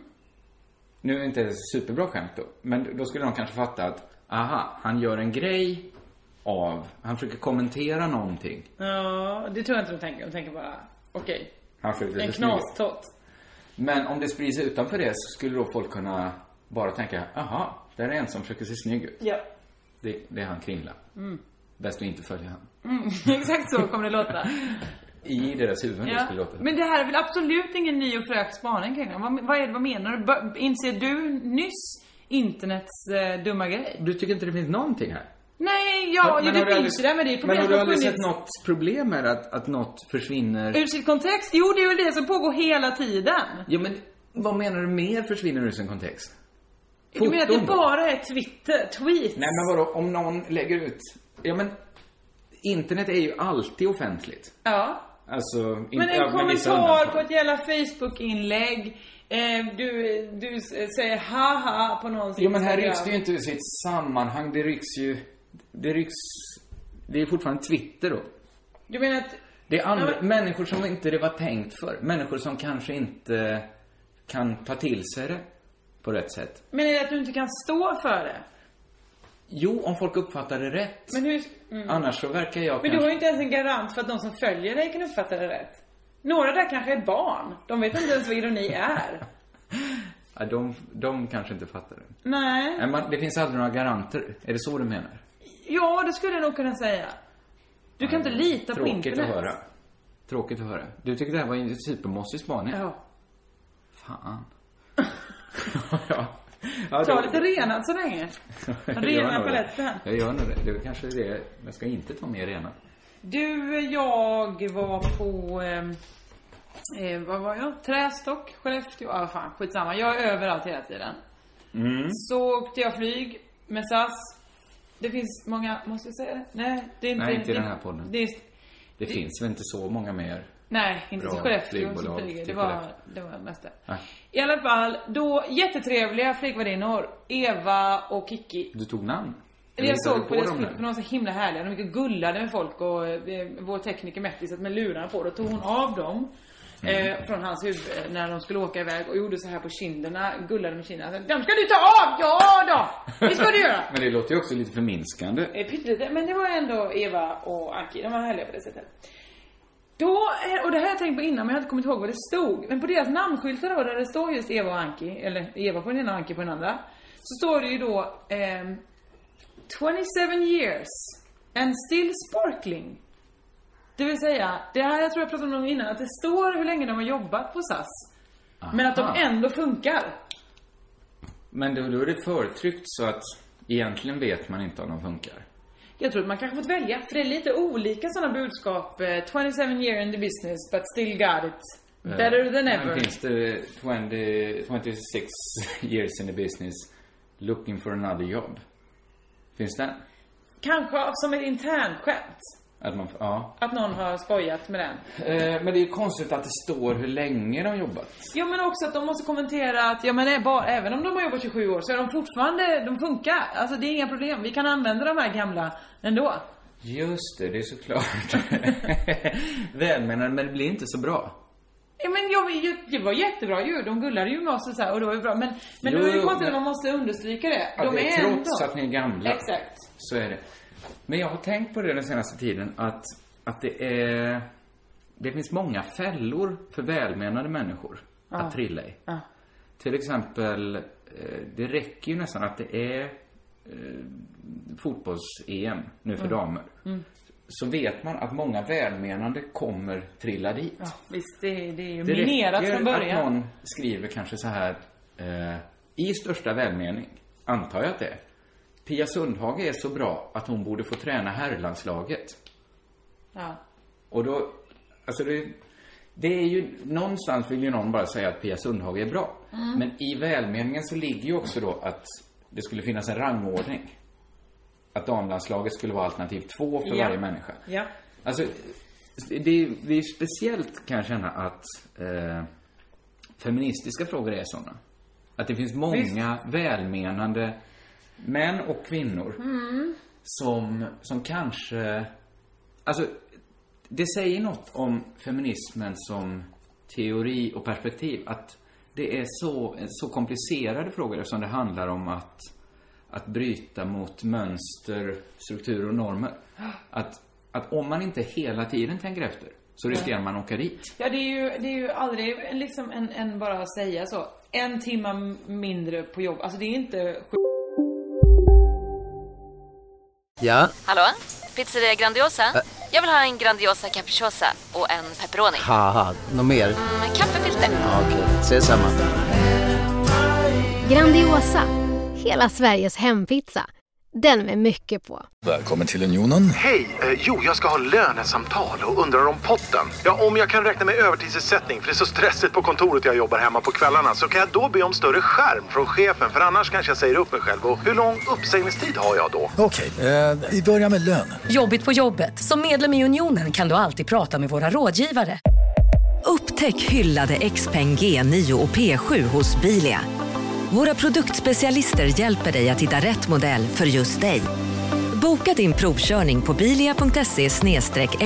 Speaker 7: Nu är det inte ett superbra skämt då, men då skulle de kanske fatta att aha, han gör en grej av... Han försöker kommentera någonting.
Speaker 8: Ja, det tror jag inte de tänker. De tänker bara, okej,
Speaker 7: Han försöker
Speaker 8: en
Speaker 7: se snygg ut.
Speaker 8: knastott.
Speaker 7: Men om det sprids utanför det så skulle då folk kunna bara tänka, aha, där är en som försöker se snygg ut.
Speaker 8: Ja.
Speaker 7: Det, det är han Kringla.
Speaker 8: Mm.
Speaker 7: Bäst att inte följa han.
Speaker 8: Exakt så kommer det låta.
Speaker 7: I deras huvuden det
Speaker 8: Ja.
Speaker 7: skulle låta.
Speaker 8: Men det här är väl absolut ingen ny och fräsch spaning kring det. vad, vad, är det, vad menar du? Bör- Inser du nyss internets eh, dumma grej?
Speaker 7: Du tycker inte det finns någonting här?
Speaker 8: Nej, ja,
Speaker 7: Men
Speaker 8: ju,
Speaker 7: har
Speaker 8: det
Speaker 7: du
Speaker 8: finns ju
Speaker 7: aldrig-
Speaker 8: där men det är
Speaker 7: Men
Speaker 8: problem
Speaker 7: har
Speaker 8: som
Speaker 7: du
Speaker 8: har
Speaker 7: aldrig sett
Speaker 8: funnits
Speaker 7: något problem med att, att något försvinner?
Speaker 8: ur sin kontext. Jo, det är väl det som pågår hela tiden.
Speaker 7: Ja, men vad menar du mer försvinner ur sin kontext?
Speaker 8: Du menar att
Speaker 7: Foton
Speaker 8: det
Speaker 7: då?
Speaker 8: bara är Twitter, tweets?
Speaker 7: Nej, men vadå, om någon lägger ut... Ja, men internet är ju alltid offentligt.
Speaker 8: Ja.
Speaker 7: Alltså, inte,
Speaker 8: Men en
Speaker 7: ja, med vissa
Speaker 8: kommentar
Speaker 7: undantag.
Speaker 8: på ett jävla Facebook-inlägg. Eh, du, du s- säger haha på någons
Speaker 7: Jo men här
Speaker 8: Instagram.
Speaker 7: rycks det ju inte ur sitt sammanhang. Det rycks ju... Det rycks... Det är fortfarande Twitter då.
Speaker 8: Du menar att...
Speaker 7: Det är andra,
Speaker 8: Ja, men-
Speaker 7: människor som inte det var tänkt för. Människor som kanske inte kan ta till sig det på rätt sätt.
Speaker 8: Men är det att du inte kan stå för det?
Speaker 7: Jo, om folk uppfattar det rätt.
Speaker 8: Men hur... Mm.
Speaker 7: Annars så verkar jag
Speaker 8: Men du
Speaker 7: kanske...
Speaker 8: har ju inte ens en garant för att de som följer dig kan uppfatta det rätt. Några där kanske är barn. De vet inte ens vad ironi är.
Speaker 7: Ja, de, de kanske inte fattar det.
Speaker 8: Nej.
Speaker 7: Men man, det finns aldrig några garanter. Är det så du menar?
Speaker 8: Ja, det skulle jag nog kunna säga. Du kan inte lita på internet.
Speaker 7: Tråkigt att höra. Tråkigt att höra. Du tyckte det här var typ en supermossig spaning?
Speaker 8: Ja.
Speaker 7: Fan. ja. ja
Speaker 8: Ta
Speaker 7: då-
Speaker 8: lite renat så länge.
Speaker 7: Jag
Speaker 8: Rena
Speaker 7: gör nog det.
Speaker 8: paletten.
Speaker 7: Jag gör nog det. Det är kanske det. Jag ska inte ta med rena.
Speaker 8: Du, jag var på... ehm, Eh, vad var jag? Trästock, Skellefteå. Ah, fan, skitsamma. Jag är överallt hela tiden.
Speaker 7: Mm.
Speaker 8: Så åkte jag flyg med SAS. Det finns många... Måste jag säga det? Nej, det är inte...
Speaker 7: Nej, inte i
Speaker 8: det-
Speaker 7: den här podden.
Speaker 8: Det är,
Speaker 7: Det finns väl inte så många mer.
Speaker 8: Nej, inte
Speaker 7: Bra
Speaker 8: till Skellefteå som
Speaker 7: flygbolag
Speaker 8: flyger. Det
Speaker 7: till
Speaker 8: var,
Speaker 7: Skellefteå.
Speaker 8: det var mest det.
Speaker 7: Nej.
Speaker 8: I alla fall, då jättetrevliga flygvärdinnor. Eva och Kiki.
Speaker 7: Du tog namn?
Speaker 8: Det jag
Speaker 7: Hittade du
Speaker 8: såg på deras
Speaker 7: dem
Speaker 8: klipp,
Speaker 7: nu?
Speaker 8: för de var så himla härliga. De gick och gullade med folk och eh, vår tekniker Metti satt med lurarna på. Då tog hon av dem eh, från hans huvud när de skulle åka iväg och gjorde så här på kinderna, gullade med kinderna. Så, De ska du ta av! Ja då! Det ska du göra!
Speaker 7: Men det låter ju också lite förminskande.
Speaker 8: Eh, Pyttelite, men det var ändå Eva och Aki. De var härliga på det sättet. Då, eh, och det här har jag tänkt på innan men jag har inte kommit ihåg vad det stod. Men på deras namnskyltar då, där det står just Eva och Anki, eller Eva på den ena och Anki på den andra. Så står det ju då ehm, 27 years and still sparkling. Det vill säga, det här jag tror jag pratade om innan, att det står hur länge de har jobbat på SAS. Eh, Men att de
Speaker 7: Aha.
Speaker 8: ändå funkar.
Speaker 7: Men då, då är det förtryckt så att egentligen vet man inte om de funkar.
Speaker 8: Jag tror att man kanske fått välja, för det är lite olika sådana budskap. eh, 27 year in the business, but still got it. Better than
Speaker 7: Men
Speaker 8: ever.
Speaker 7: finns det 20, 26 years in the business looking for another job? Finns den?
Speaker 8: Kanske av- som ett internskämt.
Speaker 7: Att man, ja.
Speaker 8: Att någon har skojat med den.
Speaker 7: Eh, men det är ju konstigt att det står hur länge de jobbat.
Speaker 8: Jo men också att de måste kommentera att, ja men är bara, även om de har jobbat 27 år så är de fortfarande, de funkar. Alltså det är inga problem, vi kan använda de här gamla ändå.
Speaker 7: Just det, det är såklart. Välmenande, men det blir inte så bra.
Speaker 8: Ja men jag, jag, det var jättebra ju, de gullade ju med oss och så här, och det var ju bra. Men, men
Speaker 7: Jo,
Speaker 8: då är det
Speaker 7: jo,
Speaker 8: konstigt att
Speaker 7: men-
Speaker 8: man måste understryka det.
Speaker 7: Ja,
Speaker 8: de
Speaker 7: det är
Speaker 8: är ändå...
Speaker 7: trots att ni är gamla.
Speaker 8: Exakt.
Speaker 7: Så är det. Men jag har tänkt på det den senaste tiden att, att det är... Det finns många fällor för välmenande människor att trilla i.
Speaker 8: Ja.
Speaker 7: Till exempel, eh, det räcker ju nästan att det är eh, fotbolls-EM nu för
Speaker 8: Mm.
Speaker 7: damer. Så vet man att många välmenande kommer trilla dit.
Speaker 8: Ja, visst, det, det är ju
Speaker 7: Det
Speaker 8: minerat
Speaker 7: räcker
Speaker 8: från början.
Speaker 7: att någon skriver kanske så här eh, i största välmening, antar jag att det är. Pia Sundhage är så bra att hon borde få träna herrlandslaget.
Speaker 8: Ja.
Speaker 7: Och då, alltså det, det är ju, någonstans vill ju någon bara säga att Pia Sundhage är bra.
Speaker 8: Mm.
Speaker 7: Men i välmeningen så ligger ju också då att det skulle finnas en rangordning. Att damlandslaget skulle vara alternativ två för
Speaker 8: Ja.
Speaker 7: varje människa.
Speaker 8: Ja.
Speaker 7: Alltså, det är, det är speciellt kan jag känna att eh, feministiska frågor är sådana. Att det finns många välmenande män och kvinnor som, som kanske... Alltså, det säger något om feminismen som teori och perspektiv. Att det är så, så komplicerade frågor eftersom det handlar om att, att bryta mot mönster, strukturer och normer. Att, att om man inte hela tiden tänker efter så riskerar man att åka dit.
Speaker 8: Ja, det är ju, det är ju aldrig en- liksom en, en bara säga så. En timma m- mindre på jobb. Alltså det är inte
Speaker 1: Ja,
Speaker 9: Hallå? Pizzeria Grandiosa? Jag vill ha en Grandiosa capriciosa och en pepperoni.
Speaker 1: haha, något mer?
Speaker 9: Med kaffefilter.
Speaker 1: Ja, Okej, ses samma.
Speaker 10: Grandiosa, hela Sveriges hempizza. Den med mycket på.
Speaker 11: Välkommen till Unionen.
Speaker 12: Hej! Eh, jo, jag ska ha lönesamtal och undrar om potten. Ja, om jag kan räkna med övertidsersättning för det är så stressigt på kontoret jag jobbar hemma på kvällarna så kan jag då be om större skärm från chefen för annars kanske jag säger upp mig själv. Och hur lång uppsägningstid har jag då?
Speaker 11: Okej, eh, vi börjar med lön.
Speaker 9: Jobbigt på jobbet. Som medlem i Unionen kan du alltid prata med våra rådgivare. Upptäck hyllade Xpeng G9 och P7 hos Bilia. Våra produktspecialister hjälper dig att hitta rätt modell för just dig. Boka din provkörning på bilia.se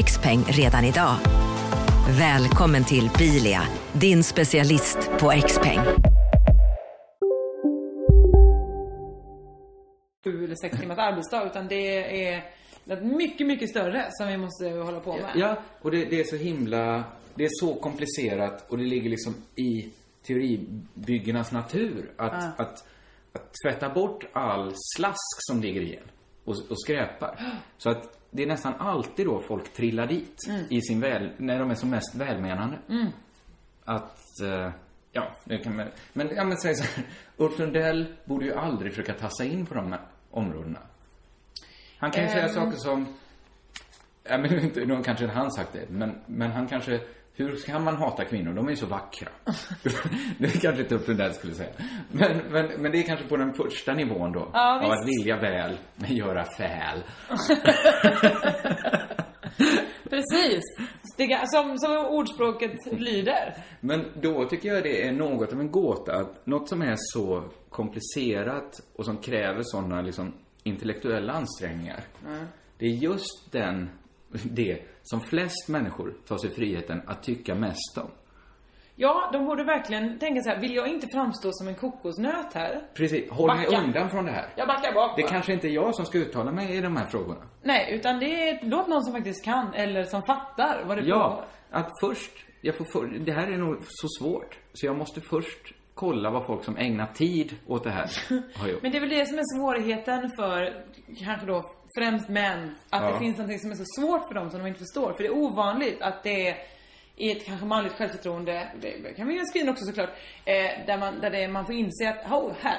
Speaker 9: xpeng redan idag. Välkommen till Bilia, din specialist på Xpeng.
Speaker 8: sju eller sex timmars arbetsdag utan det är något mycket, mycket större som vi måste hålla på med.
Speaker 7: Ja, och det, det är så himla... Det är så komplicerat och det ligger liksom i teoribyggarnas natur att, att, att tvätta bort all slask som ligger i en och, och skräpar. Så att det är nästan alltid då folk trillar dit i sin väl, när de är som mest välmenande. Att, eh, ja, det kan man, men, ja, men säg så här, Ulf Lundell borde ju aldrig försöka tassa in på de här områdena. Han kan ju säga saker som, Ja, men inte, nu har kanske inte han sagt det, men, men han kanske... Hur kan man hata kvinnor? De är ju så vackra. det är kanske inte upp till det skulle säga. Men, men, men det är kanske på den första nivån då.
Speaker 8: Ja,
Speaker 7: av
Speaker 8: visst.
Speaker 7: att vilja väl, men göra fäl.
Speaker 8: Precis. Det, ga- som, som ordspråket lyder.
Speaker 7: Men då tycker jag det är något av en gåta att något som är så komplicerat och som kräver sådana liksom intellektuella ansträngningar.
Speaker 8: Mm.
Speaker 7: Det är just den, det som flest människor tar sig friheten att tycka mest om.
Speaker 8: Ja, de borde verkligen tänka så här, vill jag inte framstå som en kokosnöt här?
Speaker 7: Precis, håll mig
Speaker 8: Backa.
Speaker 7: undan från det här.
Speaker 8: Jag backar bak.
Speaker 7: Det
Speaker 8: bara.
Speaker 7: kanske inte är jag som ska uttala mig i de här frågorna.
Speaker 8: Nej, utan det är, låt någon som faktiskt kan eller som fattar vad det
Speaker 7: Ja,
Speaker 8: pågår.
Speaker 7: att först, jag får för, det här är nog så svårt, så jag måste först kolla vad folk som ägnar tid åt det här har gjort.
Speaker 8: Men det är väl det som är svårigheten för kanske då främst män. Att
Speaker 7: Ja.
Speaker 8: det finns någonting som är så svårt för dem som de inte förstår. För det är ovanligt att det är i ett kanske manligt självförtroende, det kan vi ju skriva in också såklart, eh, där, man, där det är, man får inse att ho, här,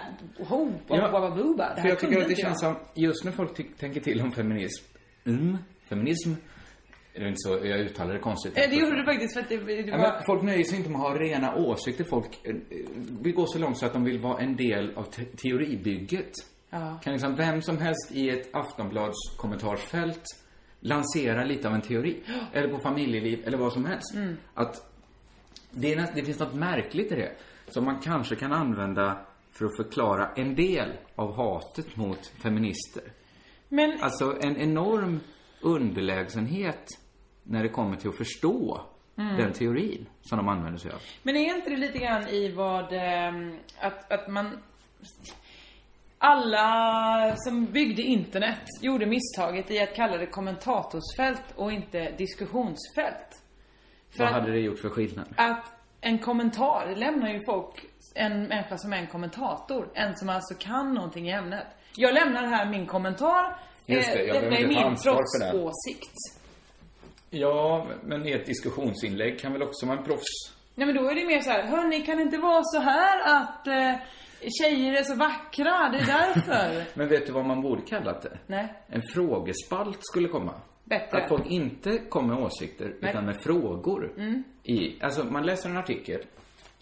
Speaker 8: ho, bo,
Speaker 7: Ja,
Speaker 8: bo, bo, bo, bo, det
Speaker 7: För
Speaker 8: här
Speaker 7: jag tycker
Speaker 8: kunde
Speaker 7: att det
Speaker 8: inte
Speaker 7: känns som, just när folk ty- tänker till om feminism, mm, feminism, det är inte så, jag uttalar det konstigt.
Speaker 8: Eh, Det gjorde du faktiskt för att det, det
Speaker 7: Ja,
Speaker 8: var...
Speaker 7: men folk nöjer sig inte med att ha rena åsikter. Folk eh, vill gå så långt så att de vill vara en del av te- teoribygget.
Speaker 8: Ja.
Speaker 7: Kan liksom vem som helst i ett Aftonblads kommentarsfält lansera lite av en teori. Eller på familjeliv, eller vad som helst.
Speaker 8: Mm.
Speaker 7: Att det, är näst, det finns något märkligt i det. Som man kanske kan använda för att förklara en del av hatet mot feminister.
Speaker 8: Men
Speaker 7: Alltså en enorm underlägsenhet när det kommer till att förstå
Speaker 8: Mm.
Speaker 7: den teorin som de använder sig av.
Speaker 8: Men är inte det lite grann i vad, ehm, att, att man... Alla som byggde internet gjorde misstaget i att kalla det kommentatorsfält och inte diskussionsfält. För
Speaker 7: Vad
Speaker 8: att,
Speaker 7: hade det gjort för skillnad?
Speaker 8: att en kommentar lämnar ju folk, en människa som är en kommentator, en som alltså kan någonting i ämnet. Jag lämnar här min kommentar.
Speaker 7: Just
Speaker 8: Eh,
Speaker 7: det, jag behöver
Speaker 8: Detta är
Speaker 7: inte ta
Speaker 8: min
Speaker 7: ansvar för den.
Speaker 8: proffsåsikt.
Speaker 7: Ja, men i ett diskussionsinlägg kan väl också vara en proffs...
Speaker 8: Nej men då är det mer så här, hörni kan det inte vara så här att eh, Tjejer är så vackra, det är därför.
Speaker 7: Men vet du vad man borde kallat det?
Speaker 8: Nej.
Speaker 7: En frågespalt skulle komma.
Speaker 8: Bättre.
Speaker 7: Att folk inte kom med åsikter,
Speaker 8: Nej.
Speaker 7: utan med frågor.
Speaker 8: Mm.
Speaker 7: I, alltså, man läser en artikel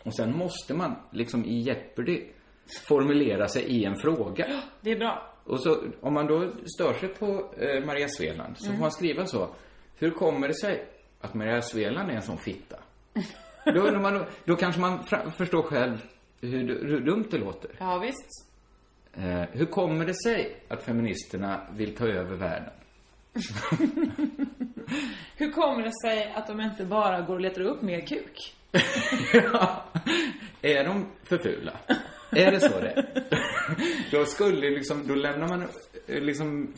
Speaker 7: och sen måste man, liksom i Jeopardy, formulera sig i en fråga.
Speaker 8: Det är bra.
Speaker 7: Och så, om man då stör sig på eh, Maria Sveland så får
Speaker 8: Mm.
Speaker 7: man skriva så. Hur kommer det sig att Maria Sveland är en sån fitta? då, undrar man, då kanske man fra- förstår själv hur, du- hur dumt det låter.
Speaker 8: Ja, visst.
Speaker 7: Eh, hur kommer det sig att feministerna vill ta över världen?
Speaker 8: Hur kommer det sig att de inte bara går och letar upp mer kuk?
Speaker 7: Är de för fula? Är det så det är? Då skulle liksom, då lämnar man eh, liksom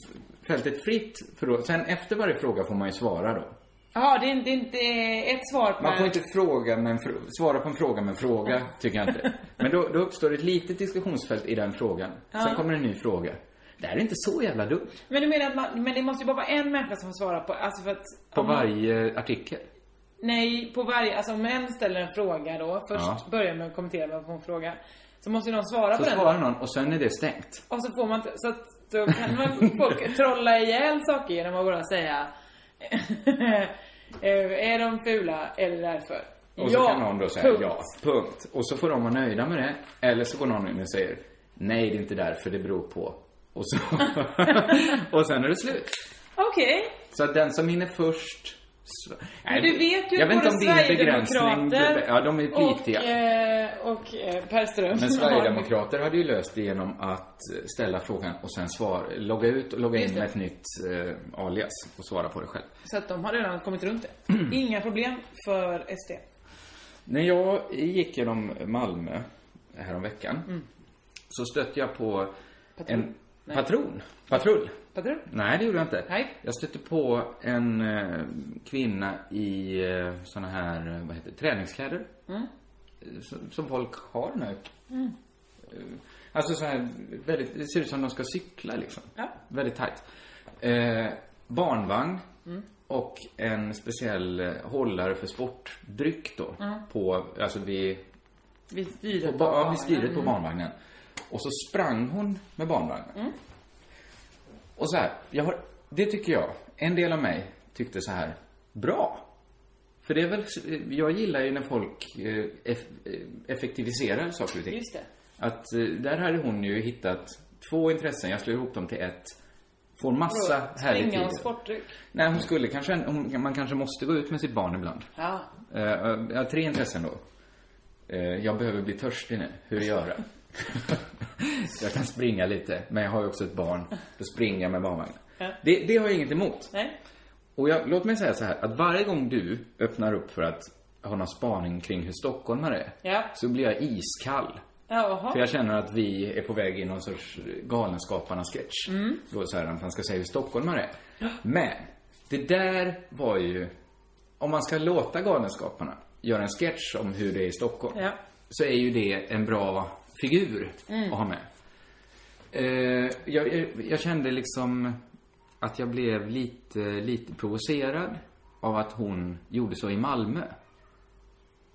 Speaker 7: fältet fritt. För då, sen efter varje fråga får man ju svara då.
Speaker 8: Ja, det är inte- det är inte ett svar på
Speaker 7: Man får inte fråga med en fr- svara på en fråga med en fråga, tycker jag inte. Men då, då uppstår ett litet diskussionsfält i den frågan.
Speaker 8: Ja.
Speaker 7: Sen kommer en ny fråga. Det här är inte så jävla dumt.
Speaker 8: Men du menar att man, men det måste ju bara vara en människa som svarar på, alltså för att...
Speaker 7: På
Speaker 8: om man-
Speaker 7: varje artikel.
Speaker 8: Nej, på varje, alltså om män ställer en fråga då, först
Speaker 7: Ja.
Speaker 8: börjar med att kommentera vad hon frågar. Så måste ju någon svara
Speaker 7: Så
Speaker 8: på den.
Speaker 7: svarar någon och sen är det stängt.
Speaker 8: Och så får man, inte- så att då kan man folk trolla ihjäl saker genom att bara säga eh, Är de fula eller därför?
Speaker 7: Och så kan någon då säga
Speaker 8: punkt.
Speaker 7: ja, punkt. Och så får de vara nöjda med det. Eller så går någon in och säger nej, det är inte därför, det beror på. Och, så och sen är det slut.
Speaker 8: Okej.
Speaker 7: Så att den som hinner först... sv-
Speaker 8: Men du vet ju
Speaker 7: jag vet
Speaker 8: både
Speaker 7: inte om det är en begränsning.
Speaker 8: Sverigedemokrater
Speaker 7: Ja, de är flitiga.
Speaker 8: Och, eh, och eh, Per Ström.
Speaker 7: Men Sverigedemokrater hade ju löst det genom att ställa frågan och sen svara, logga ut och logga
Speaker 8: Just
Speaker 7: in
Speaker 8: det.
Speaker 7: med ett nytt eh, alias och svara på det själv.
Speaker 8: Så att de har redan kommit runt det. Inga problem för SD.
Speaker 7: När jag gick genom Malmö häromveckan
Speaker 8: Mm.
Speaker 7: så stötte jag på
Speaker 8: Patron?
Speaker 7: en
Speaker 8: Nej.
Speaker 7: patron. Patrull.
Speaker 8: Patrull?
Speaker 7: Nej, det gjorde jag inte.
Speaker 8: Nej.
Speaker 7: Jag stötte på en eh, kvinna i eh, såna här, eh, vad heter det, träningskläder.
Speaker 8: Mm.
Speaker 7: Eh, Som, som folk har nu.
Speaker 8: Mm.
Speaker 7: Eh, Alltså så här, väldigt, det ser ut som de ska cykla liksom.
Speaker 8: Ja.
Speaker 7: Väldigt tajt. Eh, barnvagn
Speaker 8: Mm.
Speaker 7: och en speciell eh, hållare för sportdryck då.
Speaker 8: Mm.
Speaker 7: På, alltså vid,
Speaker 8: Vi styr
Speaker 7: på, ba- ja, vid styret på barnvagnen. Och så sprang hon med barnvagnen.
Speaker 8: Mm.
Speaker 7: Och så här, jag har, det tycker jag, en del av mig tyckte så här, bra. För det är väl, jag gillar ju när folk eh, eff, eh, effektiviserar saker och ting.
Speaker 8: Just det.
Speaker 7: Att eh, där hade hon ju hittat två intressen, jag slår ihop dem till ett. Får massa härlig
Speaker 8: Springa
Speaker 7: tid.
Speaker 8: och sportdryck.
Speaker 7: Nej, hon skulle kanske, hon, man kanske måste gå ut med sitt barn ibland.
Speaker 8: Ja.
Speaker 7: Eh, eh, Jag har tre intressen då. Eh, Jag behöver bli törstig nu. Hur gör jag? jag kan springa lite, men jag har ju också ett barn. Då springer jag med barnvagnen.
Speaker 8: Ja.
Speaker 7: Det, det har jag inget emot.
Speaker 8: Nej.
Speaker 7: Och jag, låt mig säga så här, att varje gång du öppnar upp för att ha någon spaning kring hur stockholmare är,
Speaker 8: Ja.
Speaker 7: så blir jag iskall.
Speaker 8: Jaha.
Speaker 7: För jag känner att vi är på väg in i någon sorts Galenskaparna-sketch.
Speaker 8: Mm.
Speaker 7: Då så här, att man ska säga hur stockholmare är. Men, det där var ju... Om man ska låta Galenskaparna göra en sketch om hur det är i Stockholm,
Speaker 8: Ja.
Speaker 7: så är ju det en bra figur
Speaker 8: Mm.
Speaker 7: att ha med. Eh, jag, jag, jag kände liksom att jag blev lite, lite provocerad av att hon gjorde så i Malmö.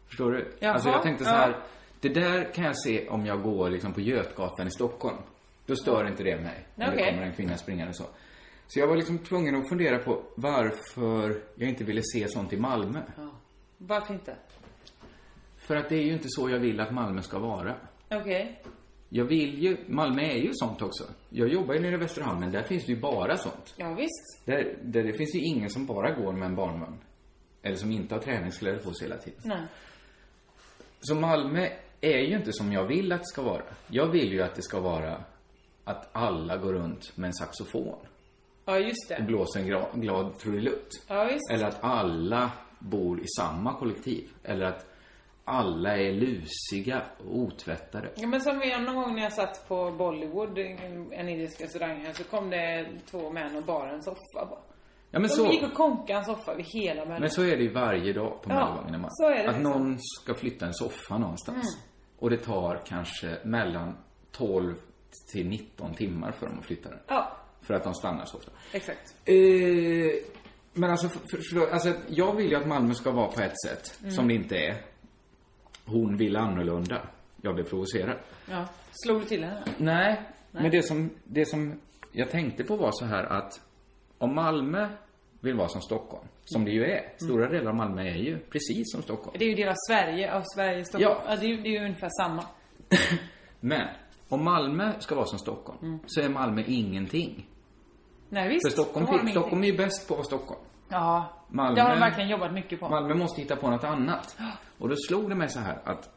Speaker 7: Förstår du?
Speaker 8: Jaha,
Speaker 7: alltså jag tänkte så här,
Speaker 8: ja.
Speaker 7: det där kan jag se om jag går liksom på Götgatan i Stockholm. Då stör inte det mig. När det
Speaker 8: Okej.
Speaker 7: kommer en kvinna springande så. Så jag var liksom tvungen att fundera på varför jag inte ville se sånt i Malmö.
Speaker 8: Ja. Varför inte?
Speaker 7: För att det är ju inte så jag vill att Malmö ska vara.
Speaker 8: Okej.
Speaker 7: Jag vill ju, Malmö är ju sånt också. Jag jobbar ju nere i Västerhamn, men där finns det ju bara sånt.
Speaker 8: Ja, visst.
Speaker 7: Där, där det finns ju ingen som bara går med en barnvagn. Eller som inte har träningskläder på sig hela tiden.
Speaker 8: Nej.
Speaker 7: Så Malmö är ju inte som jag vill att det ska vara. Jag vill ju att det ska vara att alla går runt med en saxofon
Speaker 8: Ja, just
Speaker 7: och
Speaker 8: det.
Speaker 7: blåser en gra- glad trudelutt.
Speaker 8: Ja, visst.
Speaker 7: Eller att alla bor i samma kollektiv. Eller att alla är lusiga och otvättade.
Speaker 8: Ja, men som jag någon gång när jag satt på Bollywood, en en indisk restaurang här, så kom det två män och bar en soffa bara.
Speaker 7: Ja, men
Speaker 8: De
Speaker 7: så-
Speaker 8: gick och konkade en soffa vid hela Möllan.
Speaker 7: Men så är det ju varje dag på
Speaker 8: Ja,
Speaker 7: Möllevången i Malmö.
Speaker 8: så är det
Speaker 7: Att
Speaker 8: liksom.
Speaker 7: någon ska flytta en soffa någonstans.
Speaker 8: Mm.
Speaker 7: Och det tar kanske mellan 12 till 19 timmar för dem att flytta den.
Speaker 8: Ja,
Speaker 7: För att de stannar så ofta.
Speaker 8: exakt.
Speaker 7: Eh, men alltså, för, för, alltså, jag vill ju att Malmö ska vara på ett sätt,
Speaker 8: Mm.
Speaker 7: som det inte är. Hon vill annorlunda. jag blev provocerad.
Speaker 8: Ja. Slog du till henne?
Speaker 7: Nej, men det som, det som jag tänkte på var så här att om Malmö vill vara som Stockholm, som det ju är. Stora delar av Malmö är ju precis som Stockholm.
Speaker 8: Det är ju delar av Sverige, av Sverige, Stockholm. Ja. det, är, ju- det är ju ungefär samma.
Speaker 7: Men om Malmö ska vara som Stockholm så är Malmö ingenting.
Speaker 8: Nej visst.
Speaker 7: För Stockholm,
Speaker 8: då har de
Speaker 7: fin-
Speaker 8: ingenting.
Speaker 7: Stockholm är ju bäst på att vara Stockholm.
Speaker 8: Ja.
Speaker 7: Malmö-
Speaker 8: Det har de verkligen jobbat mycket på.
Speaker 7: Malmö måste hitta på något annat. Och då slog det mig så här att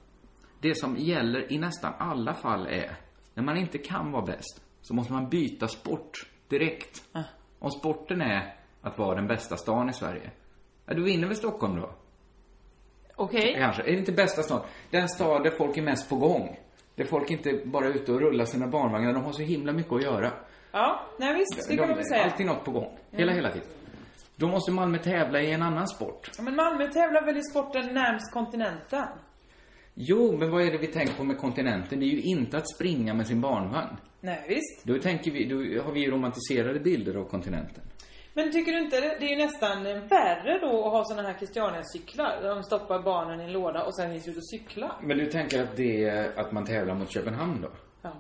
Speaker 7: det som gäller i nästan alla fall är när man inte kan vara bäst så måste man byta sport direkt. Om sporten är att vara den bästa stan i Sverige, ja, då vinner väl Stockholm då?
Speaker 8: Okej.
Speaker 7: Kanske. Är det inte bästa stan? Den stad där folk är mest på gång. Där folk inte bara är ute och rullar sina barnvagnar. De har så himla mycket att göra.
Speaker 8: Ja, nej visst. Det kan man väl säga.
Speaker 7: Alltid något på gång. Hela,
Speaker 8: Mm.
Speaker 7: hela tiden. Då måste Malmö tävla i en annan sport.
Speaker 8: Ja, men Malmö tävlar väl i sporten närmst kontinenten?
Speaker 7: Jo, men vad är det vi tänker på med kontinenten? Det är ju inte att springa med sin barnvagn.
Speaker 8: Nej visst.
Speaker 7: Då tänker vi, då har vi ju romantiserade bilder av kontinenten.
Speaker 8: Men tycker du inte det det är ju nästan eh, värre då att ha såna här Christiania-cyklar? Där de stoppar barnen i en låda och sen är de ute och cyklar.
Speaker 7: Men du tänker att det är att man tävlar mot Köpenhamn då?
Speaker 8: Ja.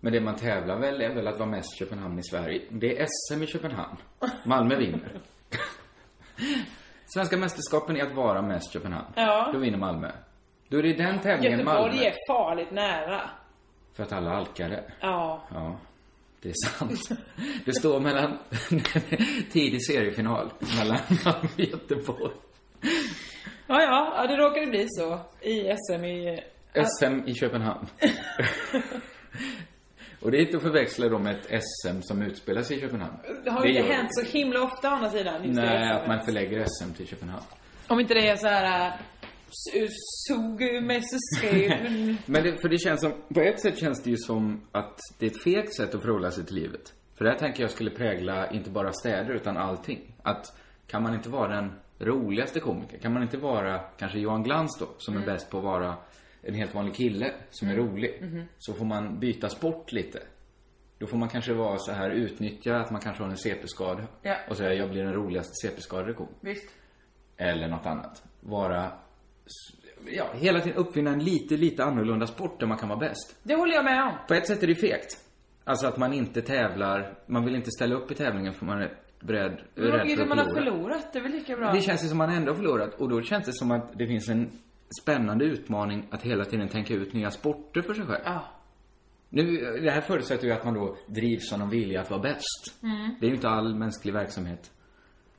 Speaker 7: Men det man tävlar väl är väl att vara mest Köpenhamn i Sverige. Det är SM i Köpenhamn. Malmö vinner. Svenska mästerskapen är att vara mest Köpenhamn.
Speaker 8: Ja.
Speaker 7: Då vinner Malmö. Då är det den tävlingen Malmö.
Speaker 8: Göteborg är farligt nära.
Speaker 7: För att alla alkare.
Speaker 8: Ja.
Speaker 7: Ja, det är sant. Det står mellan tidig seriefinal mellan Malmö och Göteborg.
Speaker 8: Ja, ja, ja, det råkade bli så i SM i...
Speaker 7: SM i Köpenhamn. Och det är inte att förväxla då med ett SM som utspelar sig i Köpenhamn.
Speaker 8: Det har ju
Speaker 7: gör
Speaker 8: inte hänt så himla ofta å andra sidan. just i
Speaker 7: Nej,
Speaker 8: SM.
Speaker 7: att man förlägger SM till Köpenhamn.
Speaker 8: Om inte det är så här... äh, su- Sugu med susgu.
Speaker 7: Men det, för det känns som, på ett sätt känns det ju som att det är ett fegt sätt att förhålla sig till livet. För det här tänker jag skulle prägla inte bara städer utan allting. Att kan man inte vara den roligaste komikern? Kan man inte vara kanske Johan Glans då, som är bäst på att vara en helt vanlig kille som är rolig.
Speaker 13: Mhm.
Speaker 7: Så får man byta sport lite. Då får man kanske vara så här, utnyttja att man kanske har en CP-skada.
Speaker 8: Ja.
Speaker 7: Och säga, jag blir den roligaste CP-skadade komikern.
Speaker 8: Visst.
Speaker 7: Eller något annat. Vara, ja, hela tiden uppfinna en lite, lite annorlunda sport där man kan vara bäst.
Speaker 8: Det håller jag med om.
Speaker 7: På ett sätt är det fegt. Alltså att man inte tävlar, man vill inte ställa upp i tävlingen för man är beredd,
Speaker 8: Men
Speaker 7: rädd för
Speaker 8: om
Speaker 7: att
Speaker 8: man har
Speaker 7: förlora.
Speaker 8: förlorat, det är väl lika bra.
Speaker 7: Det känns ju som man ändå har förlorat och då känns det som att det finns en spännande utmaning att hela tiden tänka ut nya sporter för sig själv.
Speaker 8: Ja.
Speaker 7: Nu, det här förutsätter ju att man då drivs av någon vilja att vara bäst.
Speaker 8: Mm.
Speaker 7: Det är ju inte all mänsklig verksamhet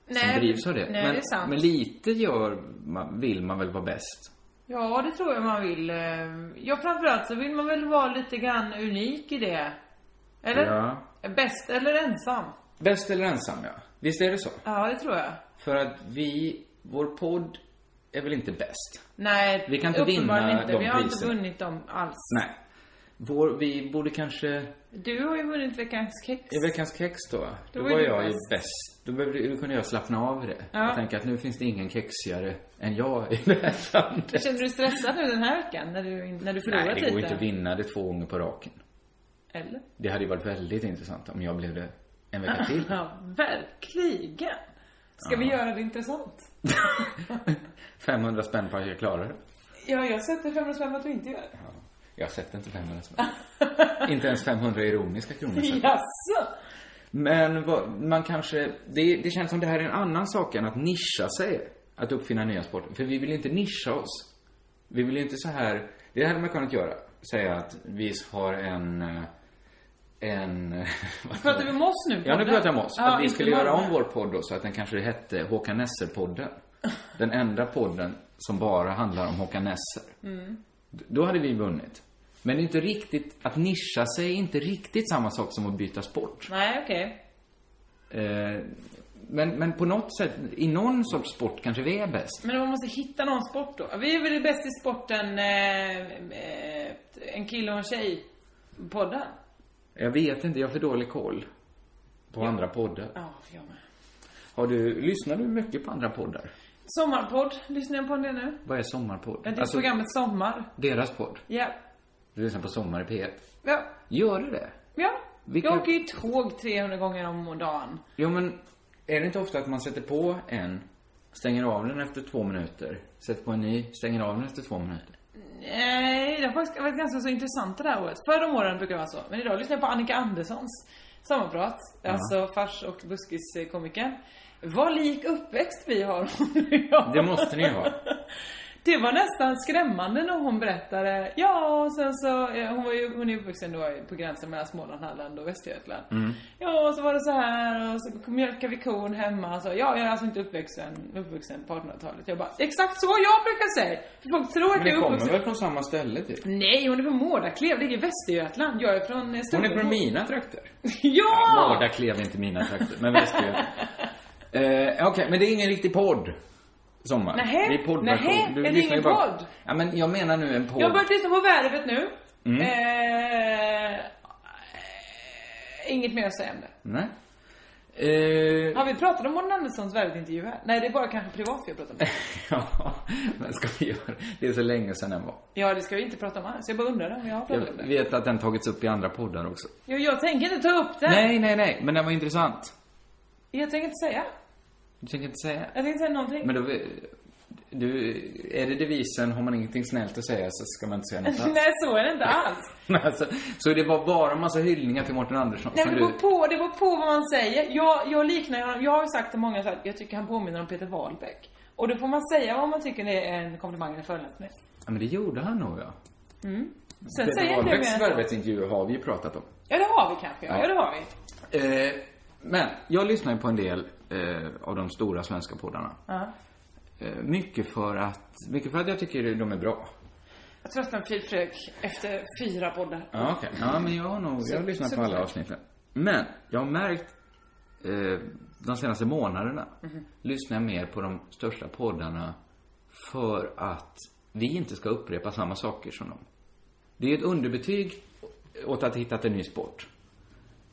Speaker 8: Nej,
Speaker 7: som drivs av det.
Speaker 8: nej,
Speaker 7: men,
Speaker 8: det är sant.
Speaker 7: men lite gör man, vill man väl vara bäst?
Speaker 8: Ja, det tror jag man vill. eh, Ja, framförallt så vill man väl vara lite grann unik i det. Eller?
Speaker 7: Ja.
Speaker 8: Bäst eller ensam.
Speaker 7: Bäst eller ensam, ja. Visst är det så?
Speaker 8: Ja, det tror jag.
Speaker 7: För att vi, vår podd är väl inte bäst?
Speaker 8: Nej,
Speaker 7: Vi kan inte
Speaker 8: uppenbarligen
Speaker 7: vinna
Speaker 8: inte.
Speaker 7: de
Speaker 8: Vi har inte
Speaker 7: priserna.
Speaker 8: vunnit dem alls.
Speaker 7: Nej. Vår, vi borde kanske...
Speaker 8: Du har ju vunnit Veckans Kex.
Speaker 7: I veckans kex då, va?
Speaker 8: Då
Speaker 7: då
Speaker 8: var
Speaker 7: var
Speaker 8: du
Speaker 7: jag ju
Speaker 8: bäst.
Speaker 7: bäst. Då, behövde, då kunde jag slappna av i det.
Speaker 8: Ja.
Speaker 7: Jag tänker att nu finns det ingen kexigare än jag i det här landet.
Speaker 8: Känner du stressad nu den här veckan när du, när du förlorat
Speaker 7: Nej, det går ju
Speaker 8: lite?
Speaker 7: inte att vinna det två gånger på raken.
Speaker 8: Eller?
Speaker 7: Det hade ju varit väldigt intressant om jag blev det en vecka till.
Speaker 8: Ja, verkligen. Ska vi göra det intressant?
Speaker 7: 500 spänn på att jag klarar det.
Speaker 8: Ja, jag sätter 500 spänn på att du inte gör det.
Speaker 7: Jag sätter inte 500 spänn. inte ens 500 ironiska kronor. sätter jag.
Speaker 8: Jaså?
Speaker 7: Men vad, man kanske, det, det känns som det här är en annan sak än att nischa sig. Att uppfinna nya sporter. För vi vill inte nischa oss. Vi vill inte så här, det hade man kunnat göra. Säga att vi har en, eh, en... vad
Speaker 8: Pratar vi om oss nu?
Speaker 7: Ja, nu
Speaker 8: Bodde?
Speaker 7: pratar jag om oss.
Speaker 8: Ja,
Speaker 7: att vi
Speaker 8: inte
Speaker 7: skulle göra
Speaker 8: Malmö.
Speaker 7: om vår podd då, så att den kanske hette Håkan Nesser-podden. Den enda podden som bara handlar om Håkan Nesser.
Speaker 8: Mm.
Speaker 7: D- Då hade vi vunnit. Men det är inte riktigt, att nischa sig är inte riktigt samma sak som att byta sport.
Speaker 8: Nej, okej.
Speaker 7: Eh, men, men på något sätt, i någon sorts sport kanske vi är bäst.
Speaker 8: Men man måste hitta någon sport då. Vi är väl bäst i sporten eh, eh, en kille och en tjej podden.
Speaker 7: Jag vet inte, jag har för dålig koll på andra poddar.
Speaker 8: Ja, jag med.
Speaker 7: Har du, lyssnar du mycket på andra poddar?
Speaker 8: Sommarpodd, lyssnar jag på det nu?
Speaker 7: Vad är sommarpodd? Alltså,
Speaker 8: Ja, Det är programmet Sommar.
Speaker 7: deras podd.
Speaker 8: Ja.
Speaker 7: Du lyssnar på Sommar i P1.
Speaker 8: Ja.
Speaker 7: Gör du det?
Speaker 8: ja.
Speaker 7: Vilka-
Speaker 8: Jag åker ju tåg 300 gånger om dagen.
Speaker 7: Jo, men är det inte ofta att man sätter på en, stänger av den efter två minuter, sätter på en ny, stänger av den efter två minuter?
Speaker 8: Nej, Eh, det har faktiskt varit ganska så intressant det här året. Förr om åren brukar det vara så. Men idag lyssnar jag på Annika Anderssons sommarprat.
Speaker 13: Ja.
Speaker 8: Alltså fars och buskiskomikern. Vad lik uppväxt vi har hon och jag.
Speaker 7: Det måste ni ju ha.
Speaker 8: Det var nästan skrämmande när hon berättade. Ja, och sen så, eh, hon, var ju, hon är uppvuxen då på gränsen mellan Småland, Halland och Västergötland.
Speaker 13: Mm.
Speaker 8: Ja, och så var det så här och så mjölkade vi kon hemma. Så, ja, jag är alltså inte uppvuxen, uppvuxen på 1800-talet. Jag bara, exakt så jag brukar säga. För folk tror att
Speaker 7: Men det
Speaker 8: jag är
Speaker 7: kommer
Speaker 8: uppvuxen.
Speaker 7: väl från samma ställe typ?
Speaker 8: Nej, hon är från Mårdaklev. Det ligger i Västergötland. Jag är från eh,
Speaker 7: Hon
Speaker 8: Stockholm.
Speaker 7: är från mina trakter.
Speaker 8: Ja!
Speaker 7: Vardagsklev är inte mina trakter, men Västergötland. Eh, Okej, men det är ingen riktig podd. Sommar.
Speaker 8: Nähä,
Speaker 7: det är poddversion.
Speaker 8: nähä,
Speaker 7: Du
Speaker 8: är det
Speaker 7: lyssnar
Speaker 8: ingen
Speaker 7: ju bara-
Speaker 8: podd?
Speaker 7: Ja, men jag menar nu en podd.
Speaker 8: Jag har börjat lyssna på Värvet nu.
Speaker 7: Mm.
Speaker 8: Eh, eh, inget mer att säga om det.
Speaker 7: Nej. Eh,
Speaker 8: Har vi pratat om Mårten Anderssons Värvet-intervju här? Nej, det är bara kanske privat vi har pratat om det.
Speaker 7: men ska vi göra? Det är så länge sedan den var.
Speaker 8: Ja, det ska vi inte prata om alls. Jag bara undrar om jag har pratat om
Speaker 7: Jag
Speaker 8: det.
Speaker 7: vet att den tagits upp i andra poddar också.
Speaker 8: Jo, jag tänker inte ta upp det.
Speaker 7: Nej, nej, nej, men den var intressant.
Speaker 8: Jag tänker inte säga.
Speaker 7: Du tänker inte säga?
Speaker 8: Jag tänker inte säga någonting.
Speaker 7: Men då, du, är det devisen, har man ingenting snällt att säga så ska man inte säga något alls?
Speaker 8: Nej, så är det inte alls.
Speaker 7: alltså, så det var bara en massa hyllningar till Mårten Andersson
Speaker 8: Nej,
Speaker 7: som
Speaker 8: men det
Speaker 7: du...
Speaker 8: beror på, det beror på vad man säger. Jag, jag liknar honom, jag har ju sagt till många så här, jag tycker han påminner om Peter Wahlbeck. Och då får man säga vad man tycker det är en komplimang eller förolämpning.
Speaker 7: Ja, men det gjorde han nog ja.
Speaker 8: Mm. Sen säger inte jag mer
Speaker 7: Wahlbecks
Speaker 8: än så.
Speaker 7: Värvets-intervju har vi ju pratat om.
Speaker 8: Ja, det har vi kanske. Ja,
Speaker 7: Ja.
Speaker 8: ja det har vi.
Speaker 7: Eh, men, jag lyssnar ju på en del eh, av de stora svenska poddarna.
Speaker 8: Ja.
Speaker 7: Eh, mycket för att, mycket för att jag tycker de är bra.
Speaker 8: Jag tröttnar på Filip Fredrik efter fyra poddar.
Speaker 7: Ja, okej. Ja, men jag har nog, jag har
Speaker 8: Så-
Speaker 7: lyssnat
Speaker 8: så-
Speaker 7: på alla avsnitten. Men, jag har märkt eh, de senaste månaderna,
Speaker 8: Mhm.
Speaker 7: lyssnar jag mer på de största poddarna för att vi inte ska upprepa samma saker som dem. Det är ju ett underbetyg åt att ha hittat en ny sport.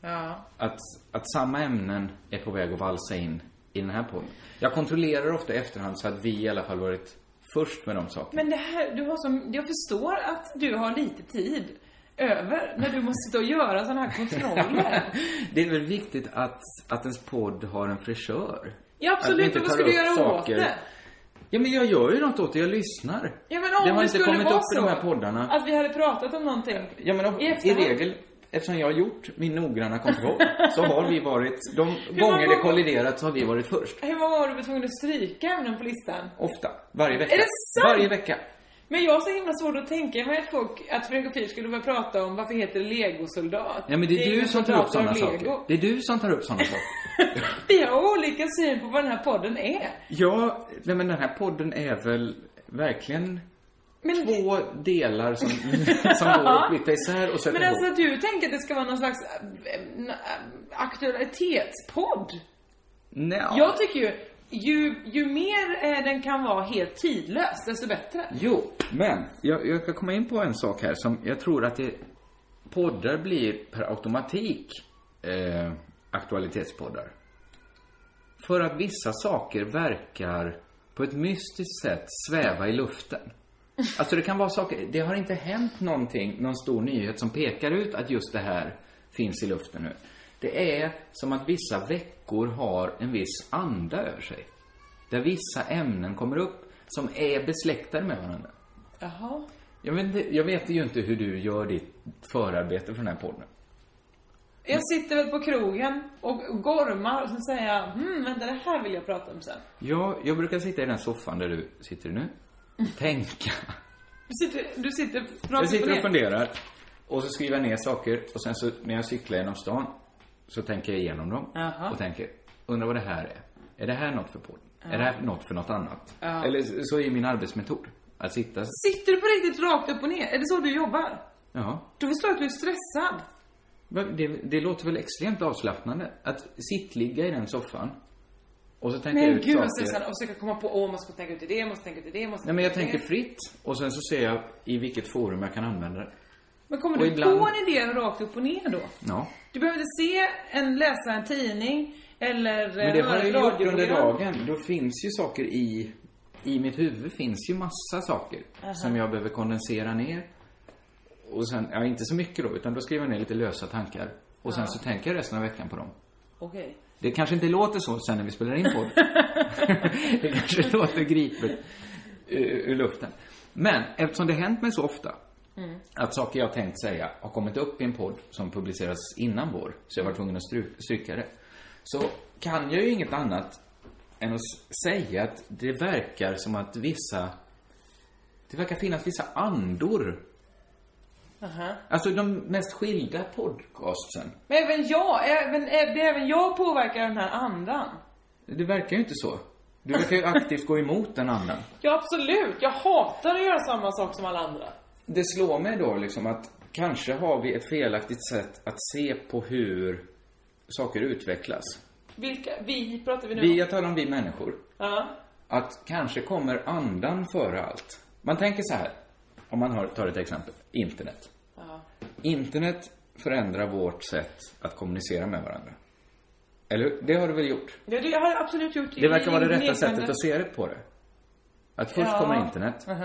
Speaker 8: Ja.
Speaker 7: Att, att samma ämnen är på väg att valsa in i den här podden. Jag kontrollerar ofta i efterhand så att vi i alla fall varit först med de sakerna.
Speaker 8: Men det här, du har som, jag förstår att du har lite tid över när du måste sitta och göra sådana här kontroller.
Speaker 7: Det är väl viktigt att, att ens podd har en frisör?
Speaker 8: Ja,
Speaker 7: Att vi
Speaker 8: absolut.
Speaker 7: inte
Speaker 8: Men vad
Speaker 7: tar
Speaker 8: ska du
Speaker 7: upp
Speaker 8: göra åt
Speaker 7: saker.
Speaker 8: det?
Speaker 7: Ja, men jag gör ju något åt det. Jag lyssnar.
Speaker 8: Ja, men om
Speaker 7: det har
Speaker 8: det
Speaker 7: inte
Speaker 8: skulle
Speaker 7: kommit
Speaker 8: vara
Speaker 7: upp i de här
Speaker 8: så.
Speaker 7: poddarna.
Speaker 8: Att vi hade pratat om någonting.
Speaker 7: ja, men om,
Speaker 8: i
Speaker 7: i,
Speaker 8: efterhand.
Speaker 7: regel, eftersom jag har gjort min noggranna kontroll, så har vi varit, de
Speaker 8: många
Speaker 7: gånger det
Speaker 8: gånger-
Speaker 7: kolliderat så har vi varit först.
Speaker 8: Hur många gånger har du blivit tvungen att stryka ämnen på listan?
Speaker 7: Ofta. Varje vecka.
Speaker 8: Är det sant?
Speaker 7: Varje vecka.
Speaker 8: Men jag har så himla svårt att tänka mig att folk, att Fredrik och Filip skulle börja prata om varför heter det legosoldat?
Speaker 7: Ja, men det är,
Speaker 8: ingen
Speaker 7: du som tar upp
Speaker 8: pratar
Speaker 7: sådana
Speaker 8: om
Speaker 7: saker.
Speaker 8: Lego.
Speaker 7: Det är du som tar upp sådana saker.
Speaker 8: Vi har olika syn på vad den här podden är.
Speaker 7: Ja, nej, men den här podden är väl verkligen två delar som, som går att flytta isär och sätta
Speaker 8: Men
Speaker 7: ihop.
Speaker 8: alltså att du tänker att det ska vara någon slags äh, äh, aktualitetspodd?
Speaker 7: Nej.
Speaker 8: Jag tycker ju, ju, ju mer eh, den kan vara helt tidlös, desto bättre.
Speaker 7: Jo, men jag, jag ska komma in på en sak här som jag tror att det, poddar blir per automatik eh, aktualitetspoddar. För att vissa saker verkar på ett mystiskt sätt sväva i luften. Alltså det kan vara saker, det har inte hänt någonting, någon stor nyhet som pekar ut att just det här finns i luften nu. Det är som att vissa veckor har en viss anda över sig. Där vissa ämnen kommer upp som är besläktade med varandra.
Speaker 8: Jaha.
Speaker 7: Jag vet, inte, jag vet ju inte hur du gör ditt förarbete för den här podden.
Speaker 8: Jag sitter väl på krogen och gormar och sen säger jag, hmm, vänta det här vill jag prata om sen.
Speaker 7: Ja, jag brukar sitta i den soffan där du sitter nu. Tänka.
Speaker 8: Du sitter, du sitter rakt upp
Speaker 7: Jag sitter
Speaker 8: ner.
Speaker 7: och funderar. Och så skriver jag ner saker. Och sen så när jag cyklar genom stan så tänker jag igenom dem.
Speaker 8: Jaha.
Speaker 7: Och tänker, undrar vad det här är. Är det här något för podden?
Speaker 8: Ja.
Speaker 7: Är det här något för något annat?
Speaker 8: Ja.
Speaker 7: Eller så är min arbetsmetod. Att sitta...
Speaker 8: Sitter du på riktigt rakt upp och ner? Är det så du jobbar?
Speaker 7: Ja.
Speaker 8: Du förstår att du är stressad.
Speaker 7: Men Det, det låter väl extremt avslappnande? Att sittligga i den soffan. Och så tänker jag
Speaker 8: Men
Speaker 7: ut
Speaker 8: gud
Speaker 7: saker.
Speaker 8: vad stressad. Och försöka komma på, åh, man ska tänka ut till det, man måste tänka ut till det, man måste
Speaker 7: Nej, men jag
Speaker 8: tänka ut till
Speaker 7: tänker
Speaker 8: det.
Speaker 7: fritt och sen så ser jag i vilket forum jag kan använda det.
Speaker 8: Men kommer
Speaker 7: Och
Speaker 8: du
Speaker 7: ibland-
Speaker 8: på en idé rakt upp och ner då?
Speaker 7: Ja.
Speaker 8: Du behöver inte se en, läsa en tidning eller eh,
Speaker 7: Men det har
Speaker 8: höra
Speaker 7: jag
Speaker 8: ett
Speaker 7: ju gjort under
Speaker 8: radioprogram.
Speaker 7: dagen. Då finns ju saker i... I mitt huvud finns ju massa saker
Speaker 8: Aha.
Speaker 7: som jag behöver kondensera ner. Och sen, ja inte så mycket då, utan då skriver jag ner lite lösa tankar. Och sen
Speaker 8: Ja.
Speaker 7: så tänker jag resten av veckan på dem.
Speaker 8: Okej.
Speaker 7: Det kanske inte låter så sen när vi spelar in på det. det kanske låter gripet ur, ur luften. Men eftersom det hänt mig så ofta
Speaker 8: Mm.
Speaker 7: att saker jag tänkt säga har kommit upp i en podd som publiceras innan vår, så jag var tvungen att stru- stryka det. Så kan jag ju inget annat än att s- säga att det verkar som att vissa... Det verkar finnas vissa andor.
Speaker 8: Aha.
Speaker 7: Alltså de mest skilda podcastsen.
Speaker 8: Men även jag, även, eh, även jag påverkar den här andan.
Speaker 7: Det verkar ju inte så. Du verkar ju aktivt gå emot den andan.
Speaker 8: Ja, absolut. Jag hatar att göra samma sak som alla andra.
Speaker 7: Det slår mig då liksom att kanske har vi ett felaktigt sätt att se på hur saker utvecklas.
Speaker 8: Vilka, vi pratar vi nu
Speaker 7: Vi,
Speaker 8: om.
Speaker 7: jag talar om vi människor.
Speaker 8: Ja.
Speaker 7: Att kanske kommer andan före allt. Man tänker så här, om man har, tar ett exempel, internet.
Speaker 8: Ja.
Speaker 7: Internet förändrar vårt sätt att kommunicera med varandra. Eller hur? Det har det väl gjort?
Speaker 8: Ja, det har jag absolut gjort.
Speaker 7: Det verkar
Speaker 8: i-
Speaker 7: vara det
Speaker 8: i-
Speaker 7: rätta
Speaker 8: nedvända-
Speaker 7: sättet att se det på det. Att först
Speaker 8: Ja.
Speaker 7: kommer internet.
Speaker 8: Mhm.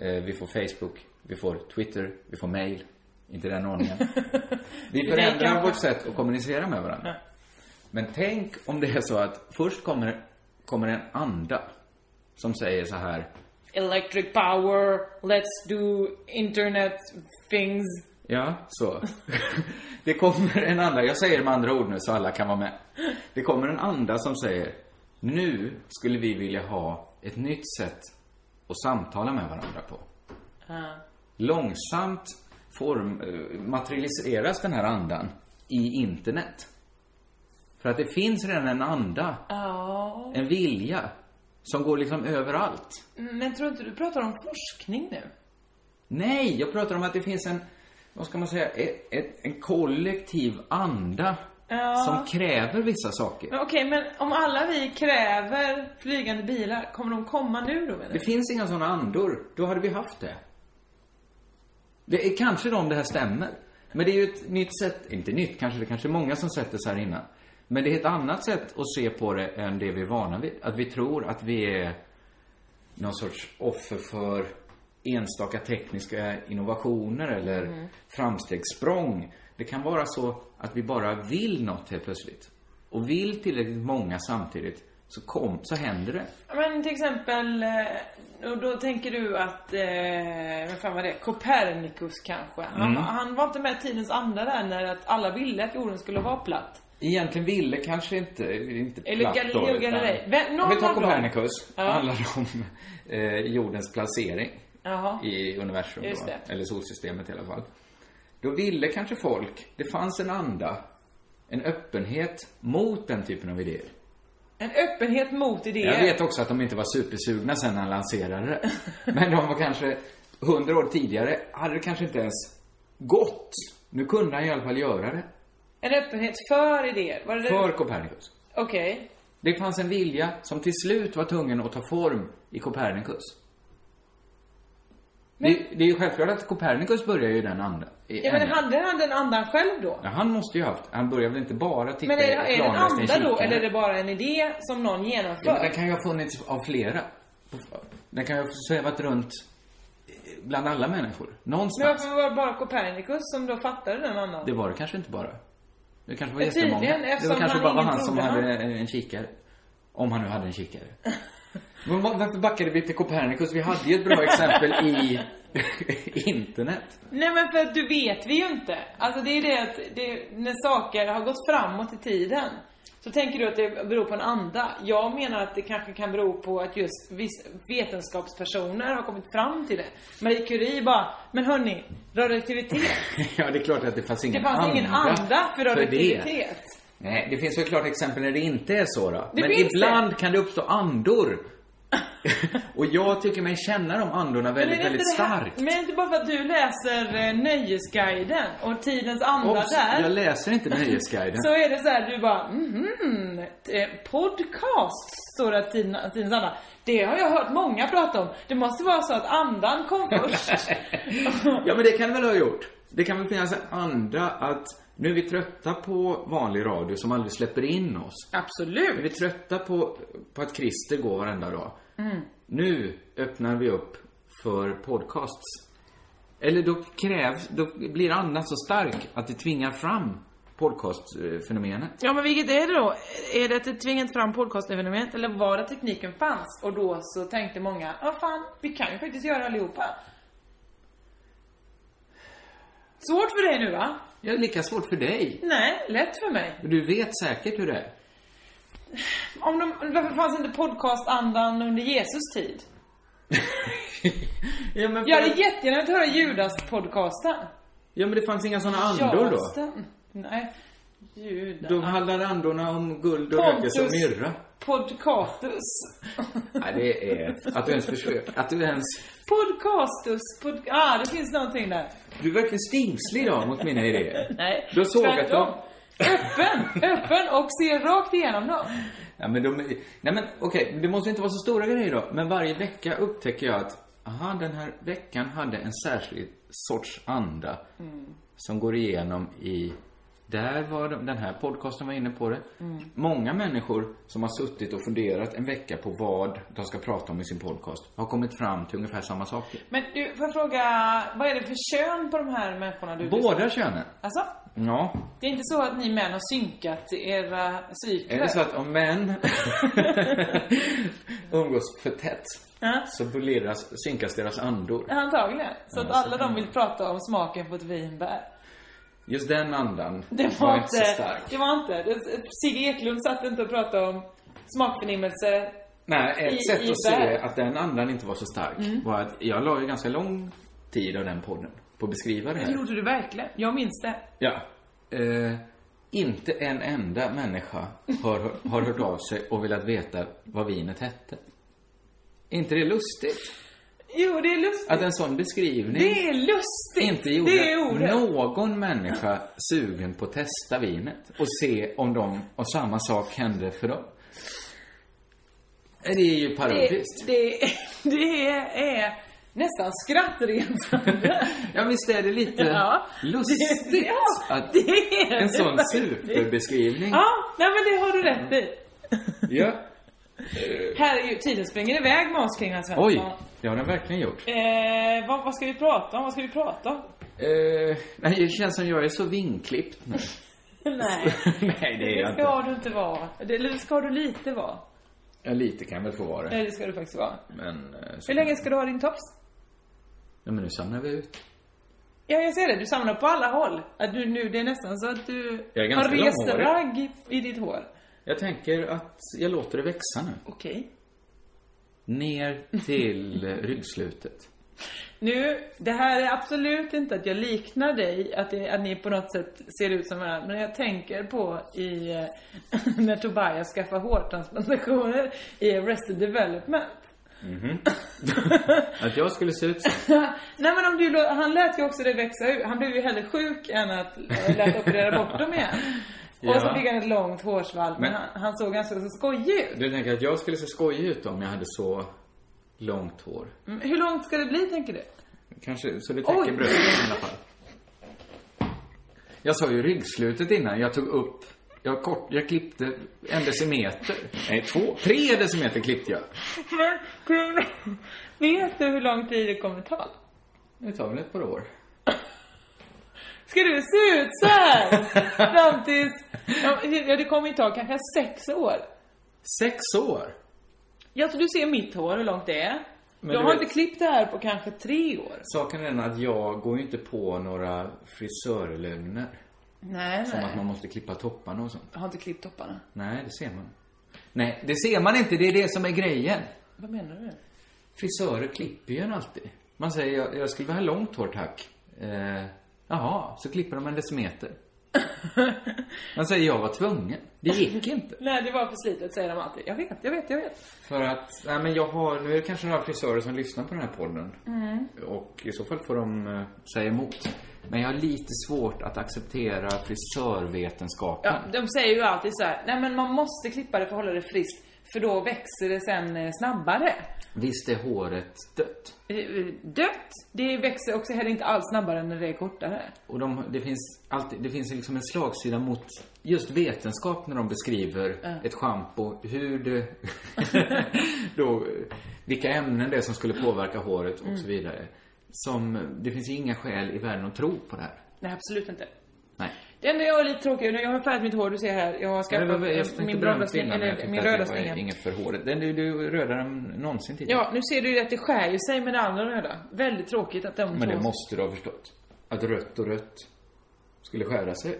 Speaker 7: Eh, Vi får Facebook, vi får Twitter, vi får mail. Inte i den ordningen.
Speaker 8: Det
Speaker 7: Vi
Speaker 8: är
Speaker 7: förändrar
Speaker 8: kanske-
Speaker 7: vårt sätt att kommunicera med varandra. Men tänk om det är så att först kommer, kommer en anda som säger så här.
Speaker 8: Electric power, let's do internet things.
Speaker 7: Ja, så. Det kommer en anda, jag säger med andra ord nu så alla kan vara med. Det kommer en anda som säger, nu skulle vi vilja ha ett nytt sätt att samtala med varandra på.
Speaker 8: Ja.
Speaker 7: Långsamt form, eh, materialiseras den här andan i internet. För att det finns redan en anda,
Speaker 8: Ja.
Speaker 7: en vilja, som går liksom överallt.
Speaker 8: Mm, Men tror inte du pratar om forskning nu?
Speaker 7: Nej, jag pratar om att det finns en, vad ska man säga, ett, ett, en kollektiv anda
Speaker 8: Ja.
Speaker 7: som kräver vissa saker.
Speaker 8: Men okej, men om alla vi kräver flygande bilar, kommer de komma nu då menar
Speaker 7: Det
Speaker 8: du?
Speaker 7: finns inga sådana andor, då hade vi haft det. Det är kanske då om det här stämmer. Men det är ju ett nytt sätt, inte nytt kanske, det kanske är många som sett det så här innan. Men det är ett annat sätt att se på det än det vi är vana vid. Att vi tror att vi är någon sorts offer för enstaka tekniska innovationer eller
Speaker 8: Mm.
Speaker 7: framstegssprång. Det kan vara så att vi bara vill något helt plötsligt. Och vill tillräckligt många samtidigt så, kom, så händer det.
Speaker 8: Men till exempel, eh, och då tänker du att, eh, vad fan var det? Copernicus kanske? Han,
Speaker 7: Mm.
Speaker 8: var- han var inte med i tidens anda där när att alla ville att jorden skulle vara platt.
Speaker 7: Egentligen ville kanske inte, inte
Speaker 8: Eller
Speaker 7: platt
Speaker 8: Galileo
Speaker 7: då, utan-
Speaker 8: Galilei. Vem- någon
Speaker 7: Om vi tar
Speaker 8: av dem.
Speaker 7: Copernicus,
Speaker 8: Ja.
Speaker 7: handlar om eh, jordens placering
Speaker 8: Jaha.
Speaker 7: i universum
Speaker 8: Just det.
Speaker 7: då, eller solsystemet i alla fall. Då ville kanske folk, det fanns en anda, en öppenhet mot den typen av idéer.
Speaker 8: En öppenhet mot idéer.
Speaker 7: Jag vet också att de inte var supersugna sen när han lanserade det. Men de var kanske, hundra år tidigare, hade det kanske inte ens gått. Nu kunde han i alla fall göra det.
Speaker 8: En öppenhet för idéer. Var det det?
Speaker 7: För Copernicus.
Speaker 8: Okej.
Speaker 7: Det fanns en vilja som till slut var tvungen att ta form i Copernicus. Det, det är ju självklart att Copernicus börjar ju i den anden.
Speaker 8: Ja, men hade han den andan själv då?
Speaker 7: Ja, han måste ju ha haft, han börjar väl inte bara titta
Speaker 8: Men är, det- är det en
Speaker 7: planlöst i
Speaker 8: anda då,
Speaker 7: kyrkan?
Speaker 8: eller är det bara en idé som någon
Speaker 7: Ja, men
Speaker 8: genomför?
Speaker 7: den kan ju ha funnits av flera. Den kan ju ha svävat runt bland alla människor.
Speaker 8: Men
Speaker 7: Någonstans.
Speaker 8: varför var det bara Copernicus som då fattade den andan?
Speaker 7: Det var det kanske inte bara. Det kanske var
Speaker 8: Men tydligen,
Speaker 7: jättemånga. det
Speaker 8: eftersom
Speaker 7: var kanske
Speaker 8: han
Speaker 7: bara var
Speaker 8: ingen
Speaker 7: han som
Speaker 8: trodde
Speaker 7: hade en kikare. Om han nu hade en kikare. Men va- varför backade vi till Copernicus? Vi hade ju ett bra exempel i internet.
Speaker 8: Nej men för att du vet vi ju inte. Alltså det är det att det, när saker har gått framåt i tiden så tänker du att det beror på en anda. Jag menar att det kanske kan bero på att just viss, vetenskapspersoner har kommit fram till det. Marie Curie bara, men hörni, radioaktivitet.
Speaker 7: ja, det är klart att det fanns
Speaker 8: Det
Speaker 7: ingen
Speaker 8: fanns ingen anda för
Speaker 7: det.
Speaker 8: radioaktivitet.
Speaker 7: Nej, det finns väl klart exempel när det inte är så då.
Speaker 8: Det
Speaker 7: Men
Speaker 8: finns
Speaker 7: ibland kan det uppstå andor. Och jag tycker mig känna de andorna
Speaker 8: Men
Speaker 7: väldigt,
Speaker 8: är det
Speaker 7: väldigt
Speaker 8: inte det här-
Speaker 7: starkt.
Speaker 8: Men är det inte bara för att du läser eh, Nöjesguiden och Tidens anda
Speaker 7: Obs,
Speaker 8: där.
Speaker 7: jag läser inte Nöjesguiden.
Speaker 8: Så är det så här, du bara mhm, eh, podcast står det att tiden- tidens anda. Det har jag hört många prata om. Det måste vara så att andan kom först.
Speaker 7: Ja, men det kan det väl ha gjort. Det kan väl finnas en anda att nu är vi trötta på vanlig radio som aldrig släpper in oss.
Speaker 8: Absolut.
Speaker 7: Nu är vi trötta på, på att Christer går varenda dag.
Speaker 8: Mm.
Speaker 7: Nu öppnar vi upp för podcasts. Eller då krävs, då blir andan så stark att det tvingar fram podcastfenomenet.
Speaker 8: Ja, men vilket är det då? Är det att det tvingat fram podcastfenomenet eller var det tekniken fanns? Och då så tänkte många, ja fan, vi kan ju faktiskt göra allihopa. Svårt för dig nu va?
Speaker 7: Ja, lika svårt för dig.
Speaker 8: Nej, lätt för mig.
Speaker 7: Du vet säkert hur det är.
Speaker 8: Om de, varför fanns inte podcastandan under Jesus tid?
Speaker 7: ja, men
Speaker 8: Jag hade jättegärna velat höra Judas-podcasten.
Speaker 7: Ja, men det fanns inga såna andor då.
Speaker 8: Jasten. Nej. Judas.
Speaker 7: Då handlade andorna om guld och
Speaker 8: Pontus.
Speaker 7: rökelse och myrra.
Speaker 8: Podcatus.
Speaker 7: Nej, det är... Att du ens försöker... Att du ens...
Speaker 8: Podcastus. Pod... Ah, det finns någonting där.
Speaker 7: Du är verkligen stingslig idag mot mina idéer.
Speaker 8: Nej.
Speaker 7: Du har sågat
Speaker 8: tvärtom.
Speaker 7: dem.
Speaker 8: Öppen, öppen och ser rakt igenom dem.
Speaker 7: Ja, men de, nej men okej, det måste inte vara så stora grejer då. Men varje vecka upptäcker jag att, aha, den här veckan hade en särskild sorts anda
Speaker 8: Mm.
Speaker 7: som går igenom i, där var de, den här podcasten var inne på det.
Speaker 8: Mm.
Speaker 7: Många människor som har suttit och funderat en vecka på vad de ska prata om i sin podcast har kommit fram till ungefär samma saker.
Speaker 8: Men du, får jag fråga, vad är det för kön på de här människorna du
Speaker 7: Båda könen.
Speaker 8: Alltså?
Speaker 7: Ja.
Speaker 8: Det är inte så att ni män har synkat era cykler?
Speaker 7: Är det så att om män umgås för tätt
Speaker 8: Ja.
Speaker 7: så bulleras, synkas deras andor.
Speaker 8: Antagligen. Så att
Speaker 7: Ja, så
Speaker 8: alla
Speaker 7: kan
Speaker 8: de
Speaker 7: det
Speaker 8: vill prata om smaken på ett vinbär.
Speaker 7: Just den andan
Speaker 8: Det var,
Speaker 7: inte så
Speaker 8: inte,
Speaker 7: stark.
Speaker 8: det var inte. det- Sigge Eklund satt inte och pratade om smakförnimmelse.
Speaker 7: Nej, ett
Speaker 8: i-
Speaker 7: sätt
Speaker 8: i
Speaker 7: att se
Speaker 8: berg.
Speaker 7: att den andan inte var så stark
Speaker 8: Mm.
Speaker 7: var att jag la ju ganska lång tid av den podden på att beskriva det
Speaker 8: Det
Speaker 7: här.
Speaker 8: gjorde du verkligen. Jag minns det.
Speaker 7: Ja. Eh, inte en enda människa har, har hört av sig och velat veta vad vinet hette. inte det lustigt?
Speaker 8: Jo, det är lustigt.
Speaker 7: Att en sån beskrivning
Speaker 8: Alltså, Det är lustigt!
Speaker 7: inte gjorde
Speaker 8: det är ordet.
Speaker 7: någon människa sugen på att testa vinet och se om de, om samma sak hände för dem. Det är ju
Speaker 8: det,
Speaker 7: parodiskt.
Speaker 8: det, det är nästan skrattretande.
Speaker 7: Ja, visst är det lite
Speaker 8: Ja.
Speaker 7: lustigt
Speaker 8: Det- ja,
Speaker 7: att
Speaker 8: det är det
Speaker 7: en sån
Speaker 8: faktiskt.
Speaker 7: superbeskrivning.
Speaker 8: ja, nej men det har du rätt i.
Speaker 7: Ja.
Speaker 8: Herregud, tiden springer iväg med oss kring den Svensson.
Speaker 7: Oj, det har den verkligen gjort.
Speaker 8: Eh, vad, vad ska vi prata om? Vad ska vi prata om?
Speaker 7: Eh, nej, det känns som jag är så vinklippt nu.
Speaker 8: Nej,
Speaker 7: nej, det är jag
Speaker 8: det
Speaker 7: inte.
Speaker 8: ska du inte vara. Det- Eller det ska du lite vara.
Speaker 7: Ja, lite kan jag väl få vara
Speaker 8: Nej,
Speaker 7: det.
Speaker 8: det ska du faktiskt vara.
Speaker 7: Men, eh, så...
Speaker 8: Hur länge ska du ha din tops?
Speaker 7: ja, men nu samlar vi ut.
Speaker 8: Ja, jag ser det. Du samlar på alla håll. Att du nu, det är nästan så att du
Speaker 7: Jag är
Speaker 8: har
Speaker 7: ganska
Speaker 8: rest
Speaker 7: långhårig.
Speaker 8: ragg i- i ditt hår.
Speaker 7: Jag tänker att jag låter det växa nu.
Speaker 8: Okej.
Speaker 7: Ner till eh, ryggslutet.
Speaker 8: Nu, det här är absolut inte att jag liknar dig, att, det, att ni på något sätt ser ut som varandra. Men jag tänker på i, eh, när Tobias skaffar hårtransplantationer i Arrested Development.
Speaker 7: Mhm. att jag skulle se ut så.
Speaker 8: Nej men om du, lå- han lät ju också det växa ut. Han blev ju hellre sjuk än att eh, lät operera bort dem igen. Och så
Speaker 7: Ja.
Speaker 8: fick han ett långt hårsvalv. Men
Speaker 7: Men-
Speaker 8: han, han såg ganska så skojig ut.
Speaker 7: Du tänker att jag skulle se skojig ut om jag hade så långt hår?
Speaker 8: Mm, Hur långt ska det bli tänker du?
Speaker 7: Kanske, så det
Speaker 8: Oj.
Speaker 7: täcker bröstet i alla fall. Jag sa ju ryggslutet innan. Jag tog upp... Jag, kort, jag klippte en decimeter. Nej, två. Tre decimeter klippte jag.
Speaker 8: Men, Gud, vet du hur lång tid det kommer ta?
Speaker 7: Det tar väl ett par år.
Speaker 8: Ska du se ut så här? Fram tills... Ja, det kommer ju ta kanske sex år.
Speaker 7: Sex år?
Speaker 8: Ja, så du ser mitt hår, hur långt det är.
Speaker 7: Men
Speaker 8: jag
Speaker 7: du
Speaker 8: har
Speaker 7: vet-
Speaker 8: inte klippt det här på kanske tre år.
Speaker 7: Saken är den att jag går ju inte på några frisörlögner.
Speaker 8: Nej,
Speaker 7: Som att man måste klippa topparna och sånt.
Speaker 8: Jag har inte klippt topparna.
Speaker 7: Nej, det ser man. Nej, det ser man inte. Det är det som är grejen.
Speaker 8: Vad menar du?
Speaker 7: Frisörer klipper ju en alltid. Man säger, jag, jag skulle vilja ha långt hår tack. Eh, jaha, så klipper de en decimeter. Man säger, jag var tvungen. Det gick inte.
Speaker 8: Nej, det var för slitet, säger de alltid. Jag vet, jag vet, jag vet.
Speaker 7: För att, nej men jag har, nu är det kanske några frisörer som lyssnar på den här podden.
Speaker 8: Mm.
Speaker 7: Och i så fall får de eh, säga emot. Men jag har lite svårt att acceptera frisörvetenskapen.
Speaker 8: Ja, de säger ju alltid så här, nej men man måste klippa det för att hålla det friskt. För då växer det sen eh, snabbare.
Speaker 7: Visst är håret dött.
Speaker 8: Eh, eh, Dött, det växer också heller inte alls snabbare än när det är kortare.
Speaker 7: Och de, det finns alltid, det finns liksom en slagsida mot just vetenskap när de beskriver
Speaker 8: Ja.
Speaker 7: ett schampo, hur det, då, vilka ämnen det är som skulle påverka håret och
Speaker 8: Mm.
Speaker 7: så vidare. Som, det finns ju inga skäl i världen att tro på det här.
Speaker 8: Nej, absolut inte.
Speaker 7: Nej.
Speaker 8: Det- Det enda jag är lite tråkig, jag har färgat mitt hår, du ser här. Jag har
Speaker 7: Men det
Speaker 8: skaffat
Speaker 7: var- jag tänkte
Speaker 8: min
Speaker 7: börja
Speaker 8: blonda
Speaker 7: med
Speaker 8: snigel,
Speaker 7: innan, men jag
Speaker 8: eller
Speaker 7: tyckte
Speaker 8: min
Speaker 7: att det
Speaker 8: röda
Speaker 7: var
Speaker 8: snigel.
Speaker 7: Inget för håret. Den, du, du är rödare än någonsin tidigare.
Speaker 8: Ja, nu ser du ju att det skär ju sig med det andra röda. Väldigt tråkigt att de
Speaker 7: Men
Speaker 8: två...
Speaker 7: det måste du ha förstått. Att rött och rött skulle skära sig.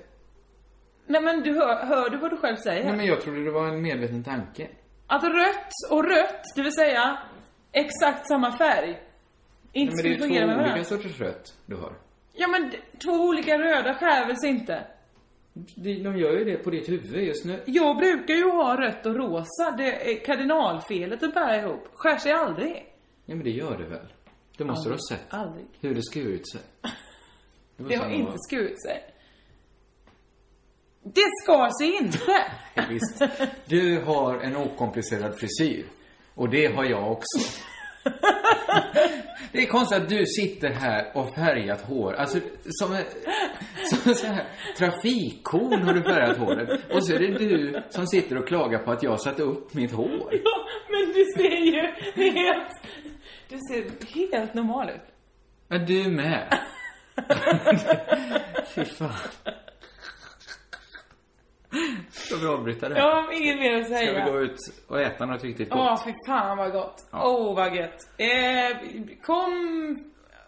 Speaker 8: Nej men du hör, hör du vad du själv säger?
Speaker 7: Nej, men jag trodde det var en medveten tanke.
Speaker 8: Att rött och rött, det vill säga exakt samma färg,
Speaker 7: Nej,
Speaker 8: inte
Speaker 7: men det
Speaker 8: skulle
Speaker 7: är två
Speaker 8: fungera med
Speaker 7: olika
Speaker 8: varandra.
Speaker 7: sorters rött du har.
Speaker 8: Ja men d- två olika röda skär väl sig inte?
Speaker 7: De de gör ju det på ditt huvud just nu.
Speaker 8: Jag brukar ju ha rött och rosa, det är kardinalfelet att bära ihop. Skär sig aldrig.
Speaker 7: Ja, men det gör det väl? Det måste du ha sett.
Speaker 8: Aldrig.
Speaker 7: Hur det skurit sig. var
Speaker 8: Det har
Speaker 7: samma-
Speaker 8: inte skurit sig. Det skar sig inte!
Speaker 7: Visst. Du har en okomplicerad frisyr. Och det har jag också. Det är konstigt att du sitter här och färgat hår. Alltså, som, en- som en sån här trafikkorn har du färgat håret. Och så är det du som sitter och klagar på att jag satte upp mitt hår.
Speaker 8: Ja, men du ser ju helt... Du ser helt normal ut.
Speaker 7: Ja, du med. Fy fan. Ska vi avbryta det här?
Speaker 8: Jag har inget mer att
Speaker 7: Ska
Speaker 8: säga.
Speaker 7: vi gå ut och äta något riktigt gott?
Speaker 8: Åh, fy fan vad gott. Åh,
Speaker 7: Ja.
Speaker 8: vad gött. Eh, kom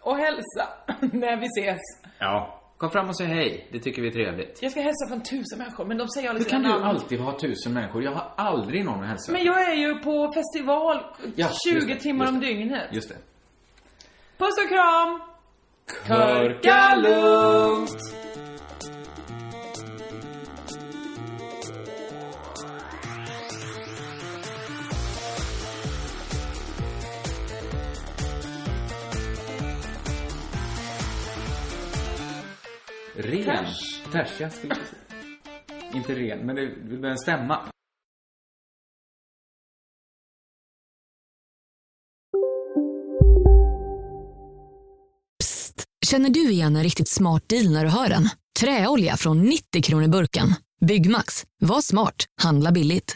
Speaker 8: och hälsa när vi ses.
Speaker 7: Ja. Kom fram och säg hej. Det tycker vi är trevligt.
Speaker 8: Jag ska hälsa från tusen människor, men de säger aldrig
Speaker 7: Hur kan
Speaker 8: sina
Speaker 7: du alltid ha tusen människor? Jag har aldrig någon att hälsa.
Speaker 8: Men jag är ju på festival
Speaker 7: Ja, just
Speaker 8: 20
Speaker 7: det,
Speaker 8: timmar
Speaker 7: just
Speaker 8: om
Speaker 7: det.
Speaker 8: dygnet.
Speaker 7: Just det.
Speaker 8: Puss och kram!
Speaker 7: Körka lugnt! Ren.
Speaker 8: Tärs.
Speaker 7: Tärs, ja. skulle jag säga. Inte ren, men det, det behöver stämma.
Speaker 13: Känner du igen en riktigt smart deal när du hör den? Träolja från 90 kronor burken. Byggmax. Var smart. Handla billigt.